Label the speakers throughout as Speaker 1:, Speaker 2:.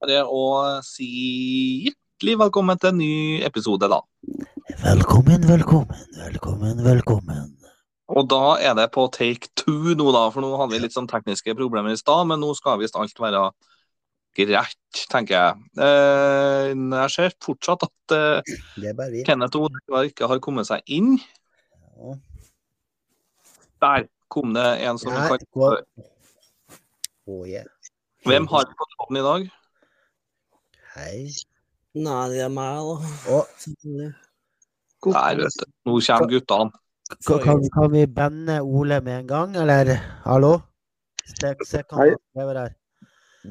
Speaker 1: med det å si hjertelig velkommen til en ny episode, da.
Speaker 2: Velkommen, velkommen, velkommen, velkommen.
Speaker 1: Og da er det på take two nå, da. For nå hadde vi litt sånn tekniske problemer i stad, men nå skal visst alt være greit, tenker jeg. Eh, jeg ser fortsatt at eh,
Speaker 2: Det er bare vi.
Speaker 1: Kenneth Odekvar ikke har kommet seg inn.
Speaker 2: Ja.
Speaker 1: Der kom det en som
Speaker 2: Her
Speaker 1: kan
Speaker 2: går- Å, ja.
Speaker 1: Hvem har vi på tråden i dag?
Speaker 2: Hei.
Speaker 3: Nei, det er meg, da.
Speaker 2: Og
Speaker 1: Der, vet du. Nå kommer guttene.
Speaker 2: kan, kan- kan vi banne Ole med en gang, eller? Hallo? Se, se hva
Speaker 4: Hei.
Speaker 2: han skriver her.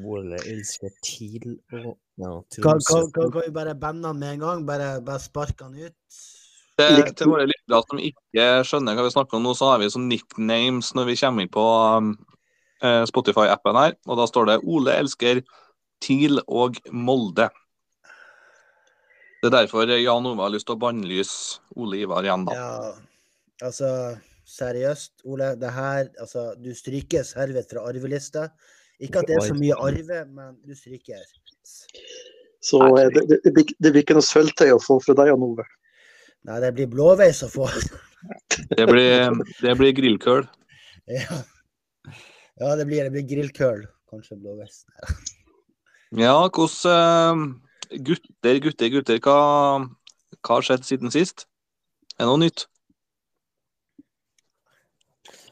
Speaker 3: Ole elsker TIL og ja,
Speaker 2: Kan, kan, kan, kan vi bare banne han med en gang? Bare, bare sparke han ut?
Speaker 1: Til,
Speaker 4: Likte-
Speaker 1: til våre lyttere som ikke skjønner hva vi snakker om nå, så har vi sånn nicknames når vi kommer inn på um, eh, Spotify-appen her. Og da står det 'Ole elsker TIL og Molde'. Det er derfor Jan Ove har lyst til å bannlyse Ole Ivar igjen, da.
Speaker 2: Ja, altså Seriøst, Ole. Det her Altså, du strykes herved fra arvelista. Ikke at det er så mye arve, men du stryker.
Speaker 4: Så eh, det, det, det, blir- det blir ikke noe sølvtøy å få fra deg, Jan Ove.
Speaker 2: Nei, det blir blåveis å få.
Speaker 1: Det blir, det blir grillkøl.
Speaker 2: Ja, ja det blir, det blir grillkøl. Kanskje blåveis.
Speaker 1: Ja, hvordan eh, Gutter, gutter, gutter. Hva, hva har skjedd siden sist? Er det noe nytt?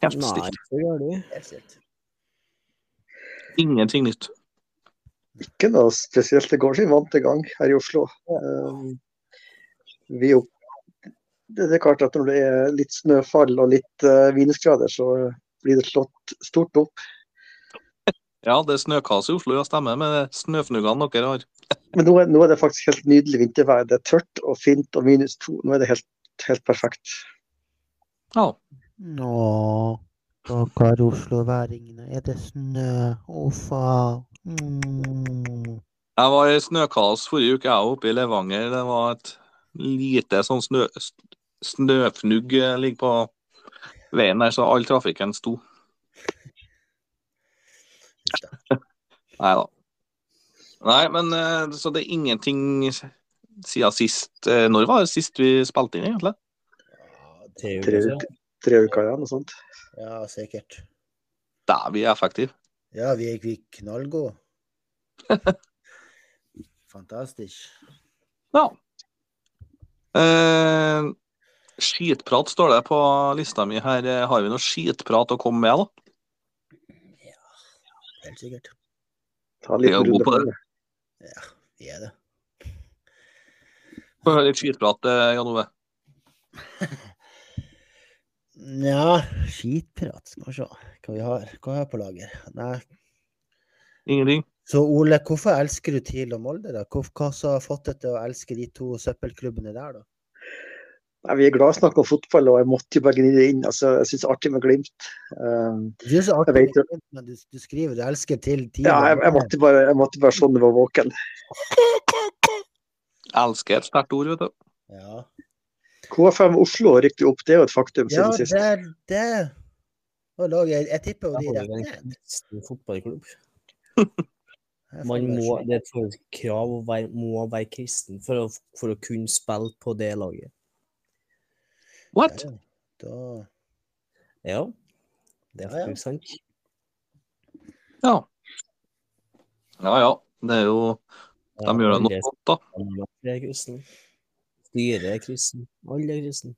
Speaker 1: Helt
Speaker 3: Nei,
Speaker 1: stilt.
Speaker 3: det gjør du.
Speaker 2: Helt sikkert.
Speaker 1: Ingenting nytt.
Speaker 4: Ikke noe spesielt. Det går sin vante gang her i Oslo. Eh, Vi opp... Det det er klart at når det er litt snøfall og litt eh, minusgrader, så blir det slått stort opp.
Speaker 1: Ja, det er snøkas i Oslo, ja, stemmer. Men det er snøfnuggene dere har.
Speaker 4: Men nå er, nå er det faktisk helt nydelig vintervær. Det er tørt og fint og minus to. Nå er det helt, helt perfekt.
Speaker 1: Ja.
Speaker 2: Nå, dere osloværingene, er det snø? Å, faen. Mm.
Speaker 1: Jeg var i snøkas forrige uke, jeg var oppe i Levanger. Det var et lite sånn snø, snøfnugg eh, ligger på veien der, så all trafikken sto. Nei da. Nei, men eh, så det er ingenting siden sist. Eh, Når var det sist vi spilte inn, egentlig?
Speaker 3: Ja, det er
Speaker 4: Tre,
Speaker 3: jo
Speaker 4: uker- tre uker igjen og sånt.
Speaker 2: Ja, sikkert.
Speaker 1: Der vi er effektive.
Speaker 2: Ja, vi er vi er knallgode. Fantastisk.
Speaker 1: Ja. Eh, skitprat står det på lista mi her. Eh, Har vi noe skitprat å komme med, da?
Speaker 2: Helt sikkert.
Speaker 4: Ta en liten
Speaker 1: Jeg er god
Speaker 4: runde
Speaker 1: på
Speaker 4: på
Speaker 1: det.
Speaker 4: det.
Speaker 2: Ja, vi er det.
Speaker 1: Få høre litt skitprat, eh, Jan Ove.
Speaker 2: Nja, skitprat. Skal vi se hva vi har Hva har jeg på lager. Nei.
Speaker 1: Ingenting?
Speaker 2: Så Ole, hvorfor elsker du TIL og Molde? da? Hvor, hva som har fått deg til å elske de to søppelklubbene der, da?
Speaker 4: Nei, vi er glad i å snakke om fotball, og jeg måtte jo bare gni det inn. Altså, jeg syns det er artig med Glimt. Um,
Speaker 2: Du synes det er
Speaker 4: Jeg vet
Speaker 2: artig, men du, du skriver du elsker TIL. TIL
Speaker 4: Ja,
Speaker 2: og
Speaker 4: jeg, jeg,
Speaker 2: Molde.
Speaker 4: måtte bare, jeg måtte bare sånn det var våken.
Speaker 1: Elsker er et sterkt ord, vet du.
Speaker 2: Ja,
Speaker 4: KFM Oslo rykker jo opp, det er jo et faktum
Speaker 2: ja
Speaker 4: siden
Speaker 2: det
Speaker 4: sist.
Speaker 2: er det. Og lag- Jeg, jeg tipper jo de
Speaker 3: det
Speaker 2: rett
Speaker 3: er en
Speaker 2: ned.
Speaker 3: kristen fotballklubb.
Speaker 2: Jeg får
Speaker 3: Man
Speaker 2: bare
Speaker 3: må,
Speaker 2: se.
Speaker 3: det er et for- krav å være, må være kristen for å, for å kunne spille på det laget.
Speaker 1: What?
Speaker 2: Ja, Da,
Speaker 3: Ja, det er
Speaker 2: Ja, ja.
Speaker 3: faktisk sant.
Speaker 1: Ja. Ja ja. Det er jo De gjør det nok godt, da.
Speaker 3: Alle er kristne. Styret er kristen. Alle er kristne.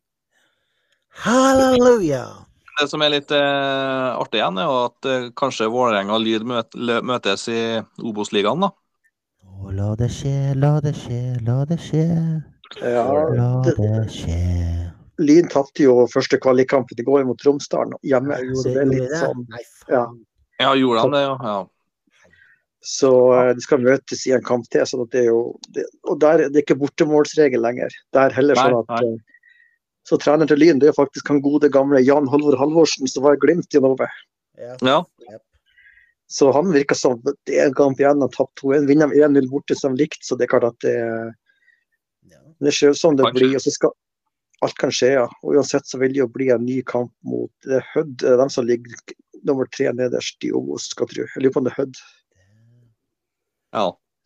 Speaker 2: halleluja!
Speaker 1: Det som er litt eh, artig igjen, er jo at eh, kanskje Vålerenga og Lyd møt, lø- møtes i Obos-ligaen, da.
Speaker 2: Å, la det skje, la det skje, la det skje.
Speaker 4: Ja,
Speaker 2: La
Speaker 4: det-
Speaker 2: det skje.
Speaker 4: Lyn tapte jo første kvalikkampen i går mot Tromsdalen hjemme. Så det er litt sånn.
Speaker 2: Nei,
Speaker 4: Ja.
Speaker 2: faen.
Speaker 1: Ja, gjorde de det, ja? ja.
Speaker 4: Så eh, de skal møtes i en kamp til. sånn at det er jo, det, og der er det ikke bortemålsregel lenger. Det er heller
Speaker 1: Nei,
Speaker 4: sånn at eh, Så treneren til Lyn det er jo faktisk han gode gamle Jan Halvor Halvorsen, som var i Glimt i Norge.
Speaker 2: Ja.
Speaker 1: Ja.
Speaker 2: Jep.
Speaker 4: Så han virker som det er en kamp igjen og tapt 2-1. Vinner de 1-0 borte som likt, så det er klart at det er
Speaker 2: Ja.
Speaker 4: Det ser ut som det
Speaker 1: Kanskje.
Speaker 4: blir. og så skal Alt kan skje, ja. Og Uansett så vil det jo bli en ny kamp mot det er Hødd. Det er dem som ligger nummer tre nederst i Obos, skal jeg tro. Jeg lurer på om det er Hødd.
Speaker 1: ja.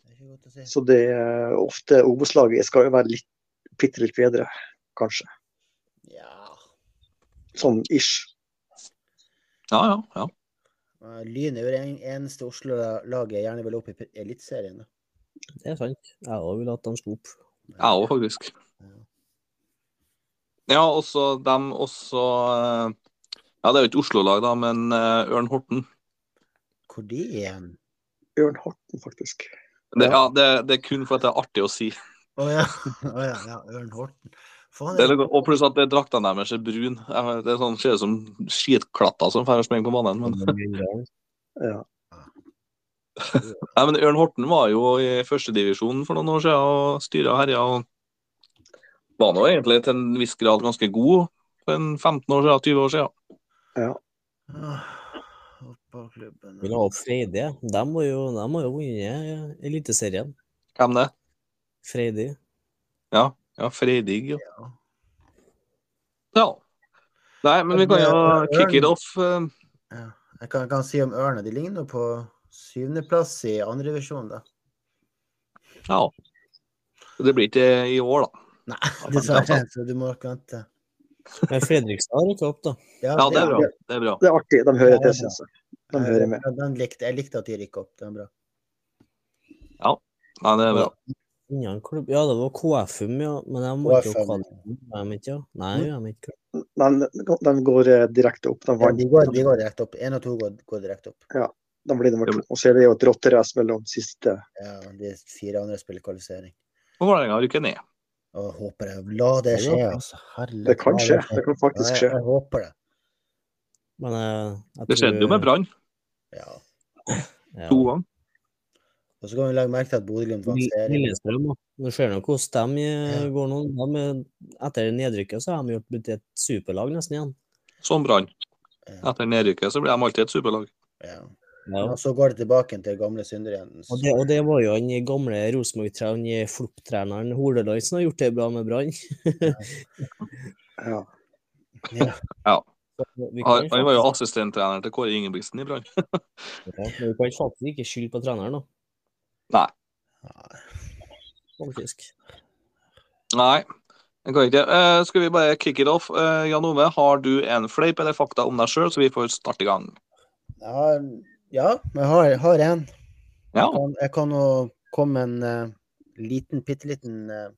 Speaker 2: Det er er godt å si.
Speaker 4: Så det er ofte Obos-laget skal jo være litt, bitte litt bedre, kanskje.
Speaker 2: Ja.
Speaker 4: Sånn ish.
Speaker 1: Ja, ja. ja.
Speaker 2: Eh, Lyn er jo det en- eneste Oslo-laget jeg gjerne vil opp i pr- Eliteserien. da.
Speaker 3: Det er sant. Jeg òg ville at de sto opp.
Speaker 1: Jeg òg, faktisk. Ja, også dem også eh, Ja, det er jo ikke Oslo-lag, da, men eh, Ørn Horten.
Speaker 2: Hvor de er igjen?
Speaker 4: Ørn Horten, faktisk.
Speaker 1: Det, ja,
Speaker 4: Ja.
Speaker 1: det, det er kun for at det er artig å si.
Speaker 2: Å ja. Å ja, ja. Ørn Horten. Faen,
Speaker 1: Det er, litt- og pluss at det draktene deres er brune. Jeg- Det er sånn, ser ut som skitklatter som drar og sprenger på banen. Men,
Speaker 4: Ja.
Speaker 1: nei, men Ørn Horten var jo i førstedivisjonen for noen år siden og styra og herja. Og var nå egentlig til en viss grad ganske god for en 15 år siden, 20 år siden.
Speaker 2: Ah, Fotballklubben
Speaker 3: Ville ha opp Freidig. De har jo, de har jo vunnet Eliteserien.
Speaker 1: Hvem det?
Speaker 3: Freidig.
Speaker 1: Ja, Freidig, jo.
Speaker 2: ja.
Speaker 1: Ja. Nei, men vi kan jo kick it off. eh,
Speaker 2: Ja. Jeg kan, jeg kan si om Ørna. De ligner nå på syvendeplass i andrevisjon, da.
Speaker 1: Ja. Det blir ikke i år, da.
Speaker 2: Dessverre, så du må nok vente.
Speaker 3: Men Fredrikstad rykka opp, da.
Speaker 1: Ja, det er bra. Det er bra.
Speaker 4: Det er artig. De hører til, syns jeg. De
Speaker 2: Jeg-
Speaker 4: hører med.
Speaker 2: ja, Den likte, jeg likte at de rykket opp. Den er bra.
Speaker 1: Nei, det er bra.
Speaker 3: Innen klubb. Ja, det var KFUM, ja. Men de var ikke
Speaker 2: KFUM.
Speaker 3: kvalitet. De ikke, ja. Nei, de er ikke
Speaker 4: De, de går eh, direkte opp. De
Speaker 2: Ja, de, går,
Speaker 4: vant.
Speaker 2: de går direkte opp. Én og to går, går direkte opp.
Speaker 4: De blir nummer to. Og så er det jo et rotterace mellom siste
Speaker 2: Ja, de fire andre spiller kvalifisering.
Speaker 1: Og Vålerenga rykker ned.
Speaker 2: Og jeg håper jeg La det skje, altså. Herlig.
Speaker 4: Det kan skje. Det kan
Speaker 2: Ja,
Speaker 4: faktisk
Speaker 2: jeg,
Speaker 4: skje.
Speaker 2: jeg håper det.
Speaker 3: Men eh, jeg
Speaker 1: Det skjedde jo med Brann
Speaker 2: Ja.
Speaker 3: Ja.
Speaker 1: to ganger.
Speaker 2: Og så kan vi legge merke til at Bodø-Glimt vant
Speaker 3: Lill-
Speaker 2: serien.
Speaker 3: Lillestrøm, da. Nå ser du hvordan de eh,
Speaker 2: Ja.
Speaker 3: går nå. De, er- etter nedrykket så har de gjort blitt et superlag nesten igjen.
Speaker 1: Som Sånn Brann.
Speaker 2: Ja.
Speaker 1: Etter nedrykket så blir de alltid et superlag.
Speaker 2: Ja.
Speaker 3: Ja.
Speaker 2: Og så går det tilbake til gamle syndere igjen.
Speaker 3: Og, det, og det var jo han gamle Rosenborg-treneren, han Flopp-treneren Hordaland som har gjort det bra med Brann.
Speaker 4: Ja.
Speaker 2: Ja.
Speaker 3: Vi kan
Speaker 1: Han han var jo
Speaker 3: faktisk-
Speaker 1: assistenttreneren til Kåre Ingebrigtsen i Brann.
Speaker 3: Ja, men vi kan faktisk ikke skylde på treneren, da.
Speaker 2: Nei.
Speaker 3: Faktisk.
Speaker 1: Nei, det kan ikke. Eh, skal vi bare kick it off? Eh, Jan Ove, har du en fleip eller fakta om deg sjøl, så vi får starte i gang?
Speaker 2: Jeg har, ja, jeg har, jeg har en.
Speaker 1: Ja.
Speaker 2: Jeg kan- Jeg kan nå komme med en eh, liten, bitte liten eh,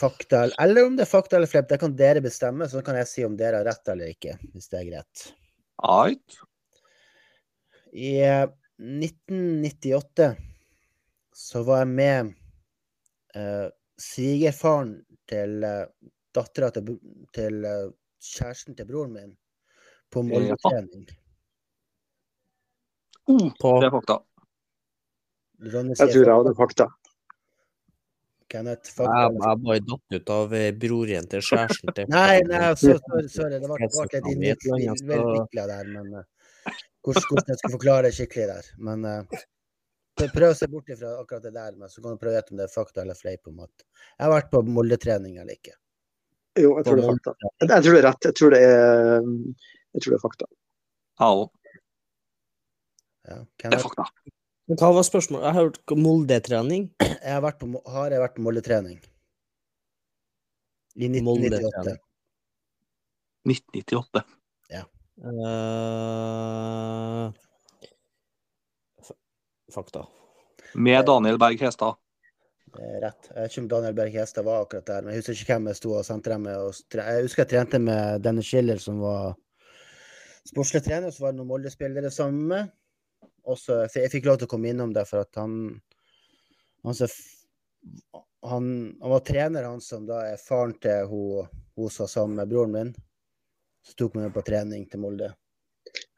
Speaker 2: fakta. Eller om det er fakta eller fleip, det kan dere bestemme. Så kan jeg si om dere har rett eller ikke, hvis det er greit.
Speaker 1: Right.
Speaker 2: I eh, 1998 så var jeg med eh, svigerfaren til uh, dattera til, bro- til eh, kjæresten til broren min på Molde-trening.
Speaker 1: Oh,
Speaker 3: På
Speaker 1: det er fakta.
Speaker 2: Ronny
Speaker 4: Jeg
Speaker 2: sier
Speaker 4: tror jeg hadde fakta.
Speaker 2: Kenneth,
Speaker 3: Jeg,
Speaker 2: fakta.
Speaker 3: jeg bare datt ut av eh, broren til kjæresten til
Speaker 2: Nei, nei, så, sorry, sorry. Det var
Speaker 3: Jeg så
Speaker 2: ikke
Speaker 3: faen
Speaker 2: din
Speaker 3: meg et eller annet, så-
Speaker 2: vikla der, men eh, hvordan, hvordan jeg skal forklare det skikkelig der. Men eh, prøv- prøv å se bort ifra akkurat det der, men så kan du prøve å gjette om det er fakta eller fleip om at jeg har vært på Molde-trening eller ikke.
Speaker 4: Jo, jeg tror det er fakta. Jeg jeg tror det er rett. Jeg tror det er, mm, jeg tror det er fakta.
Speaker 1: Ja, og
Speaker 2: Ja,
Speaker 1: det er
Speaker 2: Kenneth,
Speaker 1: fakta.
Speaker 3: Men Hva var spørsmålet? Jeg hørte Molde-trening.
Speaker 2: jeg har, vært på, Mo- har jeg vært på Molde-trening? I
Speaker 3: Molde-trening.
Speaker 2: 1998.
Speaker 1: 1998.
Speaker 3: Eh, fa- fakta.
Speaker 1: Med Daniel Berg Hestad.
Speaker 2: Eh, Rett. Jeg vet ikke om Daniel Berg Hestad var akkurat der, men jeg husker ikke hvem jeg sto og sendte dem med. Og stre- jeg husker jeg trente med Dennis Schiller, som var sportslig trener, og så var det noen Molde-spillere sammen med. Og så f- jeg fikk lov til å komme innom der, for at han Han, som f- han, han var trener, han som da er faren til hun, hun som var sammen med broren min. Så tok meg med på trening til Molde.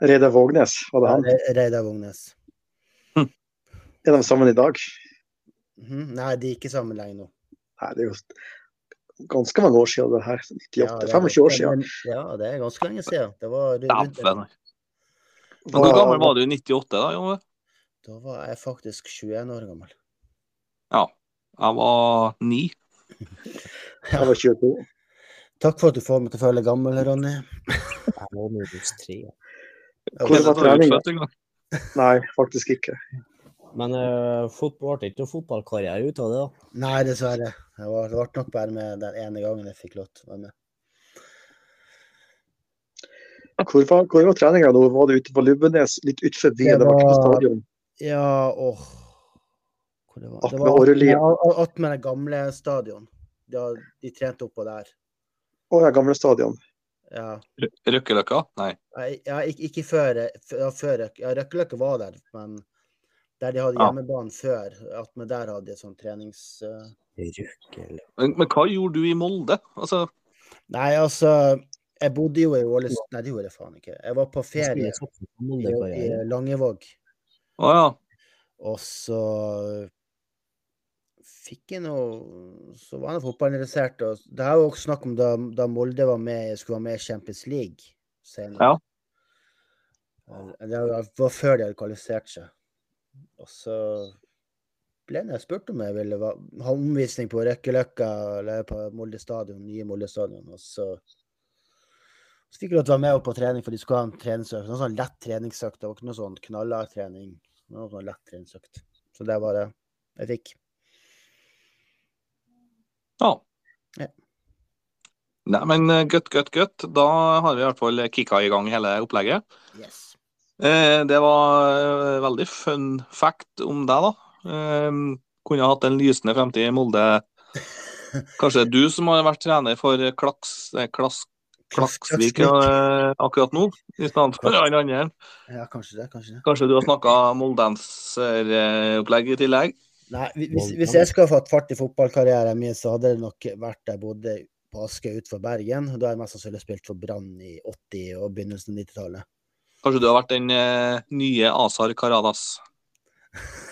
Speaker 4: Reidar Vågnes, var det han?
Speaker 2: Re- Reidar Vågnes.
Speaker 4: Er de sammen i dag?
Speaker 2: Mhm. Nei, de er ikke sammen lenger nå.
Speaker 4: Nei, det er jo ganske mange år siden det her.
Speaker 2: Ja, det
Speaker 4: 98,
Speaker 2: er
Speaker 4: 25 år
Speaker 2: ganske-
Speaker 4: siden.
Speaker 2: men- Ja, det er ganske lenge siden. Det var ru- rundt
Speaker 1: Dæven. Men Hvor gammel var du i 98, da, Jan Ove?
Speaker 2: Da var jeg faktisk 21 år gammel.
Speaker 1: Jeg var ni.
Speaker 4: Jeg var 22.
Speaker 2: Takk for at du får meg til å føle gammel, Ronny.
Speaker 3: Jeg var minus tre.
Speaker 4: Hvor var
Speaker 1: Jeg var
Speaker 4: treningen?
Speaker 1: utfødt en gang.
Speaker 4: Nei, faktisk ikke.
Speaker 3: Men eh, fotball ble ikke noe fotballkarriere ut av det, da.
Speaker 2: Nei, dessverre. Jeg var, det ble nok bare med den ene gangen jeg fikk lov til å være med.
Speaker 4: Hvor var, hvor var treninga nå? Var det ute på Lubbenes, litt utenfor
Speaker 2: Det
Speaker 4: byen? Det var ikke på
Speaker 2: var-
Speaker 4: stadion.
Speaker 2: Ja, åh Hvor det var
Speaker 4: At med Aurelia.
Speaker 2: ja, at- at med det gamle stadion. Ja, de trente oppå der.
Speaker 4: Å ja, gamle stadion.
Speaker 2: Ja.
Speaker 1: Rø- Røkkeløkka? Nei.
Speaker 2: Nei, Ja, ikke, ikke før, f- ja, før Røk- ja, Røkkeløkka var der, men der de hadde
Speaker 1: Ja.
Speaker 2: hjemmebane før, at med der hadde de sånn trenings... eh,
Speaker 3: Røkkel.
Speaker 1: Men, men hva gjorde du i Molde? Altså,
Speaker 2: Nei, altså, jeg bodde jo i Ålesund Nei, det gjorde jeg faen ikke. Jeg var på ferie i, i
Speaker 3: Feriekarriere.
Speaker 2: Langevåg.
Speaker 1: å ja.
Speaker 2: Og så fikk jeg noe Så var jeg fotballinteressert. Og det er jo også snakk om da, da Molde var med, skulle være med i Champions League senere.
Speaker 1: Ja.
Speaker 2: Eh, Det var- var før de hadde kvalifisert seg. Og så ble jeg spurt om jeg ville va- ha omvisning på Røkkeløkka eller på Molde stadion, nye Molde stadion. Og så, så fikk jeg lov til å være med opp på trening, for de skulle ha en treningsøkt. Noe sånn lett treningsøkt. Det var ikke noe sånn knallhard trening. Det var sånn lett treningsøkt. Så det var det jeg fikk.
Speaker 1: ja.
Speaker 2: Ja.
Speaker 1: Nei, men eh, gutt, gutt, gutt. Da har vi i hvert fall kicka i gang hele opplegget.
Speaker 2: Yes.
Speaker 1: Eh, det var eh, veldig fun fact om deg, da. Eh, kunne hatt en lysende fremtid i Molde. Kanskje det er du som har vært trener for eh, Klaks, eh, Klass, Klaksvik eh, akkurat nå, i stedet for han andre.
Speaker 2: Ja, kanskje det. Kanskje det.
Speaker 1: Kanskje du har snakka moldenseropplegg i tillegg?
Speaker 2: Nei, hvi- hvis, hvis jeg skulle ha fått fart i fotballkarrieren min, så hadde det nok vært der jeg bodde på Askøy utenfor Bergen. Da har jeg mest sannsynlig spilt for Brann i 80- og begynnelsen av 90-tallet.
Speaker 1: Kanskje du har vært den eh, nye Azar Karadas?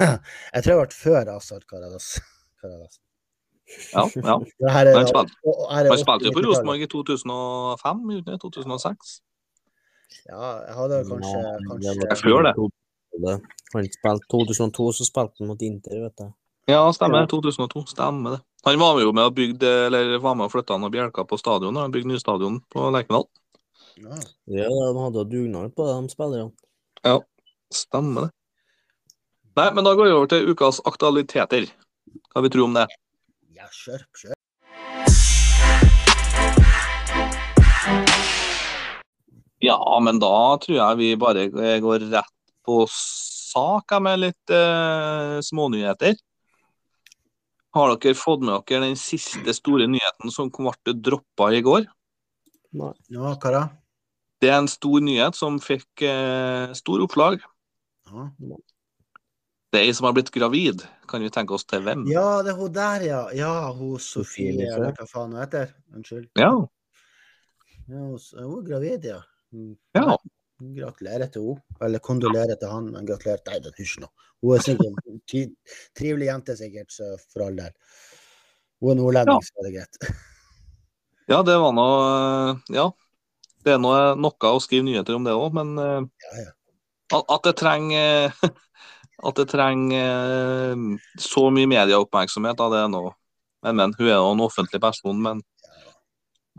Speaker 2: jeg tror jeg har vært før Asad Karadas. Karadas.
Speaker 1: Ja, ja.
Speaker 2: Det Her er,
Speaker 1: Han spilte-
Speaker 2: og- og her er
Speaker 1: Han spilte jo
Speaker 2: 80-
Speaker 1: for
Speaker 2: 90-tallet.
Speaker 1: Rosenborg i 2005, gjorde han det? 2006?
Speaker 2: Ja, jeg hadde kanskje, kanskje
Speaker 1: var før det.
Speaker 3: Han spilte 2002, så spilte han mot Inter, vet jeg.
Speaker 1: Ja, stemmer. 2002. Stemmer det. Han var jo med og bygde, eller var med og flytta noen bjelker på stadion. og Bygde ny stadion på Lerkendal.
Speaker 2: ja.
Speaker 3: Ja, de hadde jo dugnad på det, de spillerne.
Speaker 1: Stemmer det. Nei, men da går vi over til ukas aktualiteter. Hva vi tror om det?
Speaker 2: ja, kjør, kjør.
Speaker 1: Ja, men da tror jeg vi bare eh, går rett på sak jeg, med litt eh, smånyheter. Har dere fått med dere den siste store nyheten som ble droppa i går?
Speaker 2: Ja, hva da?
Speaker 1: Det er en stor nyhet som fikk eh, stor opplag.
Speaker 2: Ja.
Speaker 1: Mm. Det er ei som har blitt gravid. Kan vi tenke oss til hvem?
Speaker 2: ja, det er hun der, ja. Ja, hun Sofie,
Speaker 3: Sofie Elise.
Speaker 1: liksom.
Speaker 2: eller hva faen hun heter. Unnskyld.
Speaker 1: Ja.
Speaker 2: Ja, hun, s- hun er gravid, ja. Mm.
Speaker 1: Ja.
Speaker 2: Gratulerer til henne. Eller kondolerer til han, men gratulerer Nei, den hysj nå. Hun er sikkert en ty trivelig jente, sikkert, så for all del. Hun er nordlending,
Speaker 1: Ja.
Speaker 2: så er det greit.
Speaker 1: ja, det var nå eh, Ja. Det er nå eh, noe å skrive nyheter om det òg, men eh,
Speaker 2: Ja, ja.
Speaker 1: At at det trenger At det trenger eh, så mye medieoppmerksomhet, da, det er nå Men, men hun er jo en offentlig person, men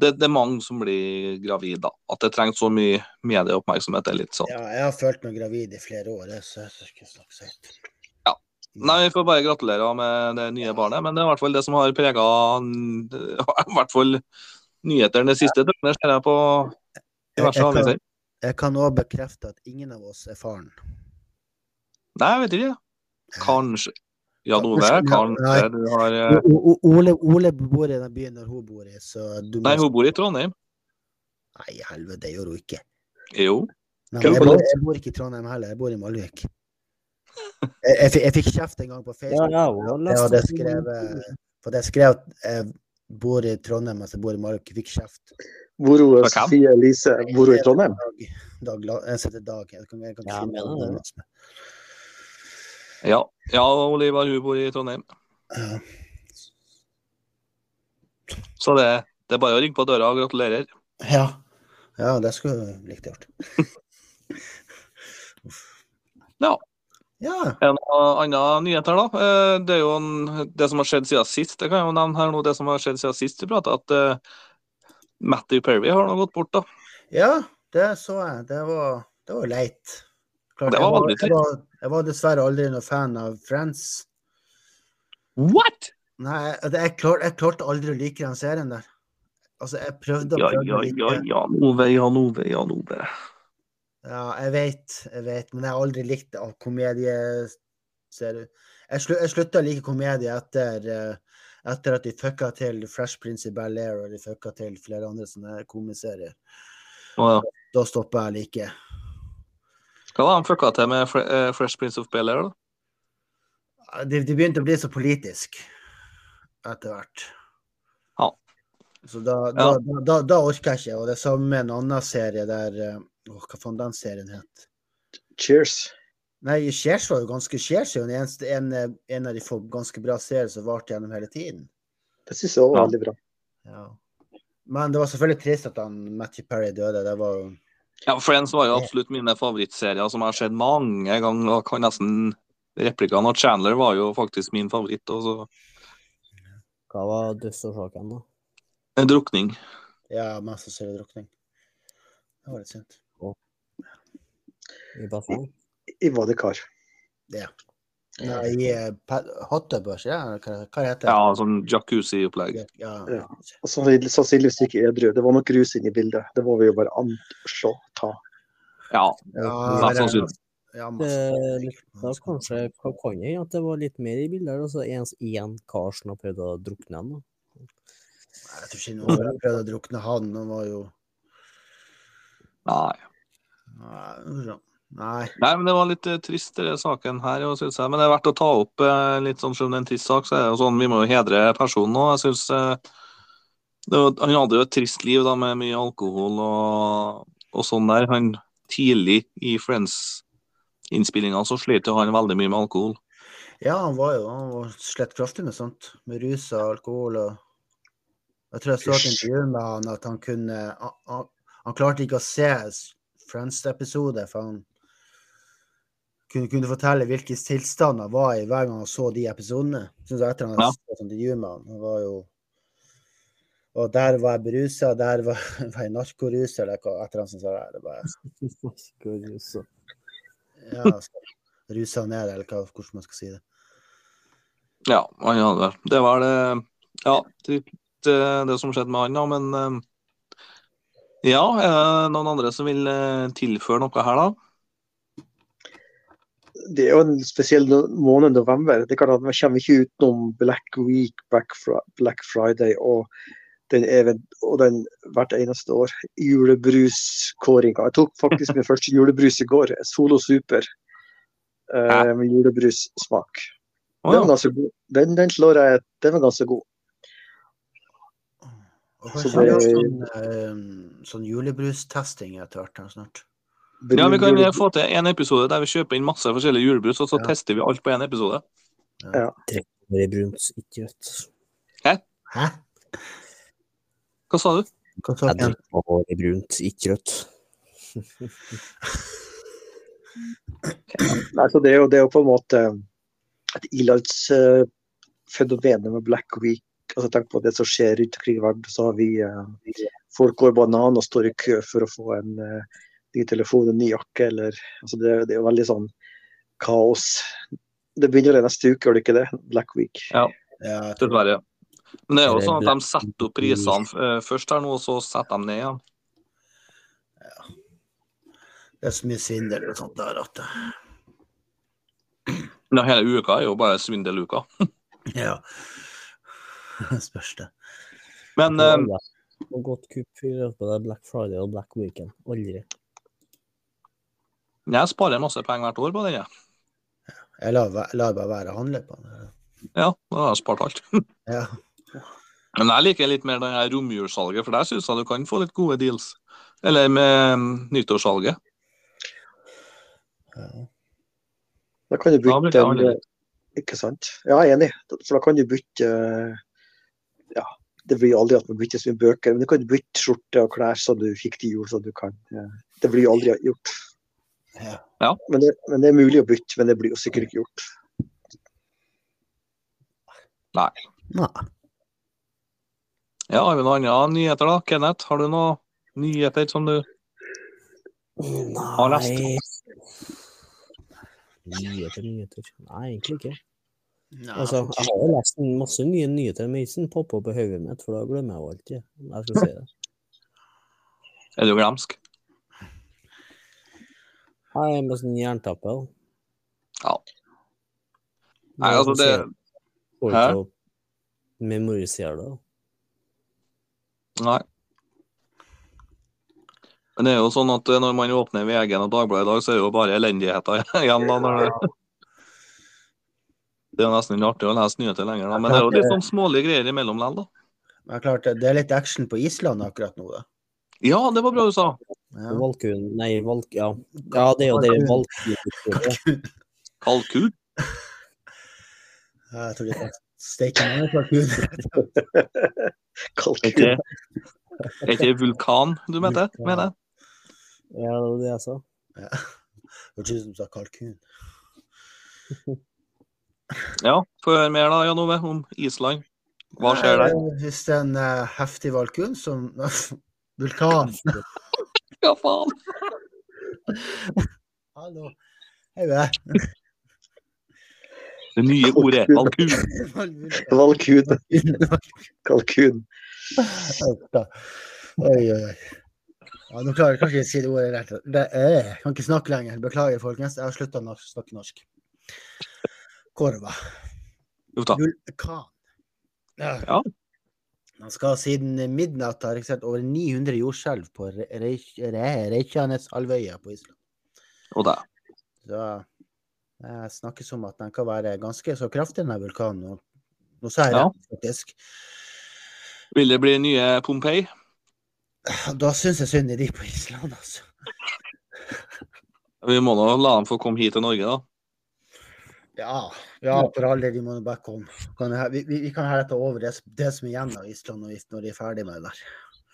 Speaker 1: det, det er mange som blir gravide, da. At det trenger så mye medieoppmerksomhet, er litt sånn.
Speaker 2: ja, jeg har følt meg gravid i flere år, så jeg skal ikke snakke så høyt.
Speaker 1: Ja. Nei, vi får bare gratulere med det nye barnet, men det er i hvert fall det som har prega I hvert fall nyhetene det siste døgnet, ser jeg på diverse
Speaker 2: Jeg- jeg
Speaker 1: aviser.
Speaker 2: kan- Jeg kan òg bekrefte at ingen av oss er faren.
Speaker 1: Nei, jeg vet ikke. Kanskje. Jan Ove,
Speaker 2: Kanskje- Nei.
Speaker 1: kanskje du har eh,
Speaker 2: O- O- Ole, Ole bor i den byen der hun bor i, så du må
Speaker 1: Nei, hun bor i Trondheim.
Speaker 2: Nei, helvete, det gjør hun ikke.
Speaker 1: Jo.
Speaker 2: Nei,
Speaker 1: Hvem
Speaker 2: jeg,
Speaker 1: på
Speaker 2: bor,
Speaker 1: det?
Speaker 2: jeg bor ikke i Trondheim heller, jeg bor i Malvik. Jeg, jeg, fikk- jeg fikk kjeft en gang på
Speaker 3: Ja,
Speaker 2: Facebook.
Speaker 3: jeg har
Speaker 2: Jeg
Speaker 3: lest
Speaker 2: hadde
Speaker 3: om-
Speaker 2: skrevet eh, For jeg skrev at jeg bor i Trondheim, mens jeg bor i Malvik. Jeg Fikk kjeft.
Speaker 4: Hvor hun
Speaker 1: Fra hvem?
Speaker 4: Sofie Elise bor hun i Trondheim?
Speaker 2: Dag, dag, La- jeg heter Dag. Jeg kan, jeg kan
Speaker 3: Ja,
Speaker 2: finne
Speaker 3: men
Speaker 2: navnet
Speaker 3: det er det.
Speaker 2: hans.
Speaker 1: Ja, ja Oliver hun bor i Trondheim.
Speaker 2: Ja.
Speaker 1: Så det, det er bare å ringe på døra og gratulerer.
Speaker 2: Ja. ja, det skulle jeg likt gjort. Uff.
Speaker 1: Ja.
Speaker 2: Ja.
Speaker 1: En annen nyhet her, da. eh, Det er jo en, det som har skjedd siden sist. Det kan jeg jo nevne her nå, det som har skjedd siden sist vi prata, at eh, Matthew Perry har nå gått bort, da.
Speaker 2: ja, det så jeg. Det var, det var leit. Klart,
Speaker 1: Det
Speaker 2: jeg,
Speaker 1: var
Speaker 2: var,
Speaker 1: veldig
Speaker 2: jeg, var, jeg var dessverre aldri noen fan av Friends.
Speaker 1: What?!
Speaker 2: Nei, jeg, jeg, klarte, jeg klarte aldri å like den serien der. Altså, jeg prøvde og
Speaker 1: Ja,
Speaker 2: prøvde
Speaker 1: ja,
Speaker 2: å
Speaker 1: ja,
Speaker 2: like
Speaker 1: Jan Ove, Jan Ove, Jan Ove.
Speaker 2: Ja, jeg vet, jeg vet, men jeg har aldri likt av komedie, ser du. Jeg, slu, jeg slutta å like komedie etter, eh, etter at de fucka til Fresh Prince i Bel-Air og de fucka til flere andre sånne komiserier.
Speaker 1: Å, ja.
Speaker 2: Da stoppa jeg å like.
Speaker 1: Hva da, han fucka til med Fre eh, Fresh Prince of Bel-Air, da?
Speaker 2: Det de begynte å bli så politisk etter hvert.
Speaker 1: Ja.
Speaker 2: Så da, da,
Speaker 1: Ja.
Speaker 2: da, da, da orker jeg ikke. Og det samme med en annen serie der eh, Åh, hva faen den serien het?
Speaker 4: Cheers.
Speaker 2: Nei, Cheers var jo ganske Cheers er jo en, eneste- en, eh, en av de få ganske bra serier som varte gjennom hele tiden.
Speaker 4: Det syns jeg
Speaker 1: Ja.
Speaker 4: var veldig bra.
Speaker 2: Ja. Men det var selvfølgelig trist at han, Matthew Perry døde. Det var jo
Speaker 1: Ja, Friends var jo absolutt mine favorittserier som jeg har sett mange ganger. og kan nesten replikkene. Og Chandler var jo faktisk min favoritt. Og så
Speaker 3: Hva var dødsårsaken, da?
Speaker 1: en drukning.
Speaker 2: ja, mest sannsynlig drukning. Det var litt synd.
Speaker 3: I bassenget?
Speaker 4: I badekar.
Speaker 2: Nei, i eh, pa- hottebbørs, ja? eller Hva, hva heter
Speaker 1: Ja,
Speaker 2: det?
Speaker 1: sånn jacuzzi-opplegg.
Speaker 2: Ja.
Speaker 4: Ja. Og sannsynlig- sannsynligvis ikke edru. Det var nok rus inne i bildet. Det må vi jo bare anta.
Speaker 1: Ja.
Speaker 2: Ja,
Speaker 1: Mest sannsynlig.
Speaker 2: ja,
Speaker 3: Eh,
Speaker 2: masse.
Speaker 3: Da kanskje hva kan jeg at det var litt mer i bildet. her, Altså en, en kar som har prøvd å drukne han. da.
Speaker 2: Nei, Jeg tror ikke noen har prøvd å drukne han. Han var jo
Speaker 1: Nei.
Speaker 2: Nei. sånn. Nei.
Speaker 1: Nei, men det var litt eh, trist, denne saken her, jo, synes jeg. Men det er verdt å ta opp eh, litt sånn selv om det er en trist sak, så er det jo sånn vi må jo hedre personen òg. Jeg syns eh, det var- Han hadde jo et trist liv da med mye alkohol og, og sånn der. Han tidlig i Friends-innspillinga så slet jo han veldig mye med alkohol.
Speaker 2: Ja, han var jo han var slett kraftig med sånt. Med rus og alkohol og Jeg tror jeg så et intervju med han at han kunne Han, han, han klarte ikke å se Friends-episoder, for han kunne, kunne fortelle hvilken tilstand han var i hver gang han så de episodene. Synes jeg etter han
Speaker 1: Ja.
Speaker 2: så et intervju med han, han var jo Og der var jeg berusa, der var, var jeg narkorus, eller hva etter han som sa det. det bare,
Speaker 3: Gud, så-
Speaker 2: ja, så, rusa ned, eller hva, hvordan man skal si det.
Speaker 1: Ja, han hadde det. Det var det Ja, trist eh, det som skjedde med han, da, men eh, ja, er det noen andre som vil eh, tilføre noe her, da?
Speaker 4: Det er jo en spesiell no- måned, november. Det kan at Man kommer ikke utenom Black Week, Black, Fri Black Friday og den, even- og den hvert eneste år. Julebruskåringa. Jeg tok faktisk min første julebrus i går. Solo Super. Eh, med julebrussmak.
Speaker 1: Å,
Speaker 4: Den, var
Speaker 1: ja.
Speaker 4: ganske god. den, den slår jeg Den var ganske god.
Speaker 2: Og
Speaker 4: Så
Speaker 2: kanskje vi har
Speaker 4: det-
Speaker 2: sånn, eh, sånn julebrustesting etter hvert her snart.
Speaker 1: ja, vi kan eh,
Speaker 4: Jule-
Speaker 1: få til en episode der vi kjøper inn masse forskjellige julebrus, og så
Speaker 2: Ja.
Speaker 1: tester vi alt på én episode.
Speaker 3: Bare brunt, ikke rødt.
Speaker 2: Hæ?
Speaker 1: Hva sa du?
Speaker 2: Hva sa
Speaker 3: Jeg
Speaker 2: du?
Speaker 3: drikker bare brunt, ikke rødt.
Speaker 4: Nei, så det, er jo, det er jo på en måte eh, et ilandsfenomen med Black Week. Altså Tenk på det som skjer rundt omkring i verden. Så har vi eh, Folk går banan og står i kø for å få en eh, ny telefon, en ny jakke eller altså det, er- det er jo veldig sånn kaos. Det begynner vel neste uke, gjør det ikke det? Black Week.
Speaker 2: Ja, jeg tror-
Speaker 1: Dessverre. Men det er jo
Speaker 3: Det er
Speaker 1: sånn at
Speaker 3: black-
Speaker 1: de setter opp prisene eh, først her nå, og så setter de ned igjen.
Speaker 2: det er så mye svindel og sånt der at
Speaker 1: Men hele uka er jo bare svindeluka.
Speaker 2: Ja. Spørs det.
Speaker 1: Men
Speaker 3: Det
Speaker 1: eh,
Speaker 3: er aldri noe godt kupp i løpet av Black Friday og Black Weekend. Aldri.
Speaker 1: jeg sparer masse penger hvert år på den, jeg.
Speaker 2: Jeg lar, væ- lar bare være å handle på den.
Speaker 1: Ja, da har jeg spart alt.
Speaker 2: Ja.
Speaker 1: Men jeg liker litt mer det her romjulssalget, for der syns jeg du kan få litt gode deals. Eller med mm, nyttårssalget.
Speaker 2: ja.
Speaker 4: Da kan du
Speaker 1: Da blir det
Speaker 4: bytte en, eh,
Speaker 1: annerledes.
Speaker 4: Ikke sant. Ja, jeg er enig. For da kan du bytte eh, Ja, det blir jo aldri at man bytter så mye bøker, men du kan bytte skjorte og klær som du fikk til jul, så du kan eh, Det blir jo aldri gjort.
Speaker 2: Ja.
Speaker 1: Ja.
Speaker 4: Men, det, men det er mulig å bytte, men det blir jo sikkert ikke gjort.
Speaker 2: Nei.
Speaker 1: Ja, har vi noen andre nyheter, da? Kenneth, har du noen nyheter som du
Speaker 3: Nei
Speaker 1: Har lest.
Speaker 3: Nyheter, nyheter. Nei, egentlig ikke.
Speaker 2: Nei,
Speaker 3: Altså, jeg har jo lest en masse nye nyheter, men ikke sånn popper opp i hodet mitt, for da glemmer jeg jo alltid. om Jeg skal si det.
Speaker 1: Er du glemsk?
Speaker 3: Nei, jeg er bare sånn jerntappe. da.
Speaker 1: Ja. Nei, altså, det
Speaker 3: Får
Speaker 1: Hæ?
Speaker 3: ikke å memorisere det. da.
Speaker 1: Nei. Men det er jo sånn at eh, når man åpner VG-en og Dagbladet i dag, så er det jo bare elendigheter igjen. da. Når det... det er jo nesten ikke artig å lese nyheter lenger, da. men det er jo litt sånn smålige greier imellom likevel, da.
Speaker 2: Men klart, det er litt action på Island akkurat nå, da.
Speaker 1: Ja, det var bra du sa!
Speaker 2: Ja.
Speaker 3: Valkuen Nei, valk... Ja. ja, det er jo det valkuen
Speaker 1: Kalkun.
Speaker 2: Ja, Jeg tror det er steike mange kalkuner.
Speaker 1: Er
Speaker 4: Kalkun.
Speaker 1: ikke er ikke det vulkan du mente?
Speaker 3: Vulkan.
Speaker 1: mener jeg?
Speaker 3: Ja, det var det jeg sa.
Speaker 2: Ja. Det var du som sa kalkun.
Speaker 1: Ja, før mer da, Jan Ove, om Island. Hva skjer der?
Speaker 2: Eh, Hvis det er en eh, heftig valkun som Vulkan.
Speaker 1: Hva faen?
Speaker 2: Hallo. Hei, hva er
Speaker 1: Det nye ordet er kalkun.
Speaker 2: det? Vulkan.
Speaker 4: Valkun. Kalkun.
Speaker 2: Da. Oi, oi, oi. Ja, nå klarer jeg kanskje ikke å si det ordet rett. Det er, jeg kan ikke snakke lenger. Beklager, folkens. Jeg har slutta å snakke norsk. Korva.
Speaker 1: Uff da.
Speaker 2: Vulkan.
Speaker 1: Ja.
Speaker 2: Man skal siden midnatt ha registrert over 900 jordskjelv på Re- Reik- Re- Reykjaneshalvøya på Island.
Speaker 1: Og det.
Speaker 2: Så eh, det snakkes om at den kan være ganske så kraftig, denne vulkanen. Og nå sa jeg
Speaker 1: Ja.
Speaker 2: det, faktisk.
Speaker 1: Vil det bli nye Pompeii?
Speaker 2: Da syns jeg synd i de på Island, altså.
Speaker 1: Vi må nå la dem få komme hit til Norge, da.
Speaker 2: Ja, ja for all del, vi må nå bare komme. Kan jeg- Vi, vi, vi kan helle over det, s- det som er igjen av Island når vi, når de er ferdig med det der.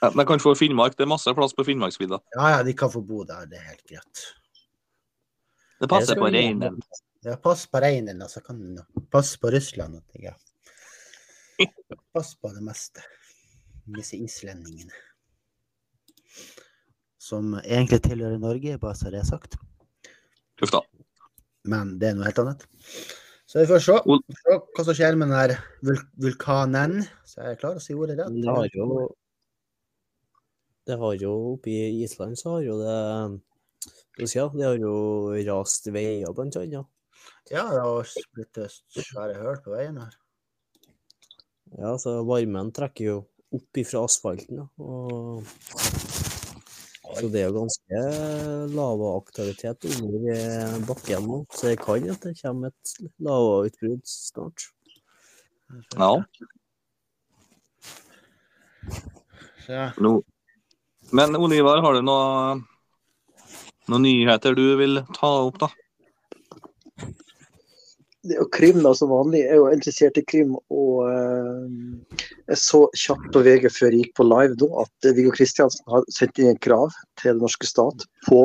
Speaker 1: Ja, men jeg kan få Finnmark. Det er masse plass på Finnmarksvidda.
Speaker 2: Ja, ja, de kan få bo der, det er helt greit.
Speaker 1: Det passer på reinen.
Speaker 2: Ja, pass på reinen, altså. Kan, du nå- pass på Russland. og ting, Ja. Pass på det meste. Disse islendingene. Som egentlig tilhører Norge, bare så det er sagt.
Speaker 1: Uff da.
Speaker 2: Men det er noe helt annet. Så vi får se,
Speaker 1: Ol-
Speaker 2: Vi får se hva som skjer med den her vul vulkanen. Så jeg klarer å si ordet rett.
Speaker 3: Men det har jo Det har jo Oppe i Island så har jo det Hva skal jeg si, Det har jo rast veier, blant annet.
Speaker 2: Ja, det har s- blitt eh, svære høl på veien her.
Speaker 3: Ja, så varmen trekker jo opp ifra asfalten, da. Og... Så det er jo ganske lavaaktivitet under eh, bakken nå, så det kan at det kommer et lavautbrudd snart.
Speaker 1: Ja.
Speaker 2: Så, ja.
Speaker 1: No. Men Ole Ivar, har du noe, noen nyheter du vil ta opp, da?
Speaker 4: det er jo krim da, som vanlig. Jeg er jo interessert i krim, og eh, jeg så kjapt på VG før jeg gikk på live nå, at eh, Viggo Kristiansen har sendt inn en krav til den norske stat på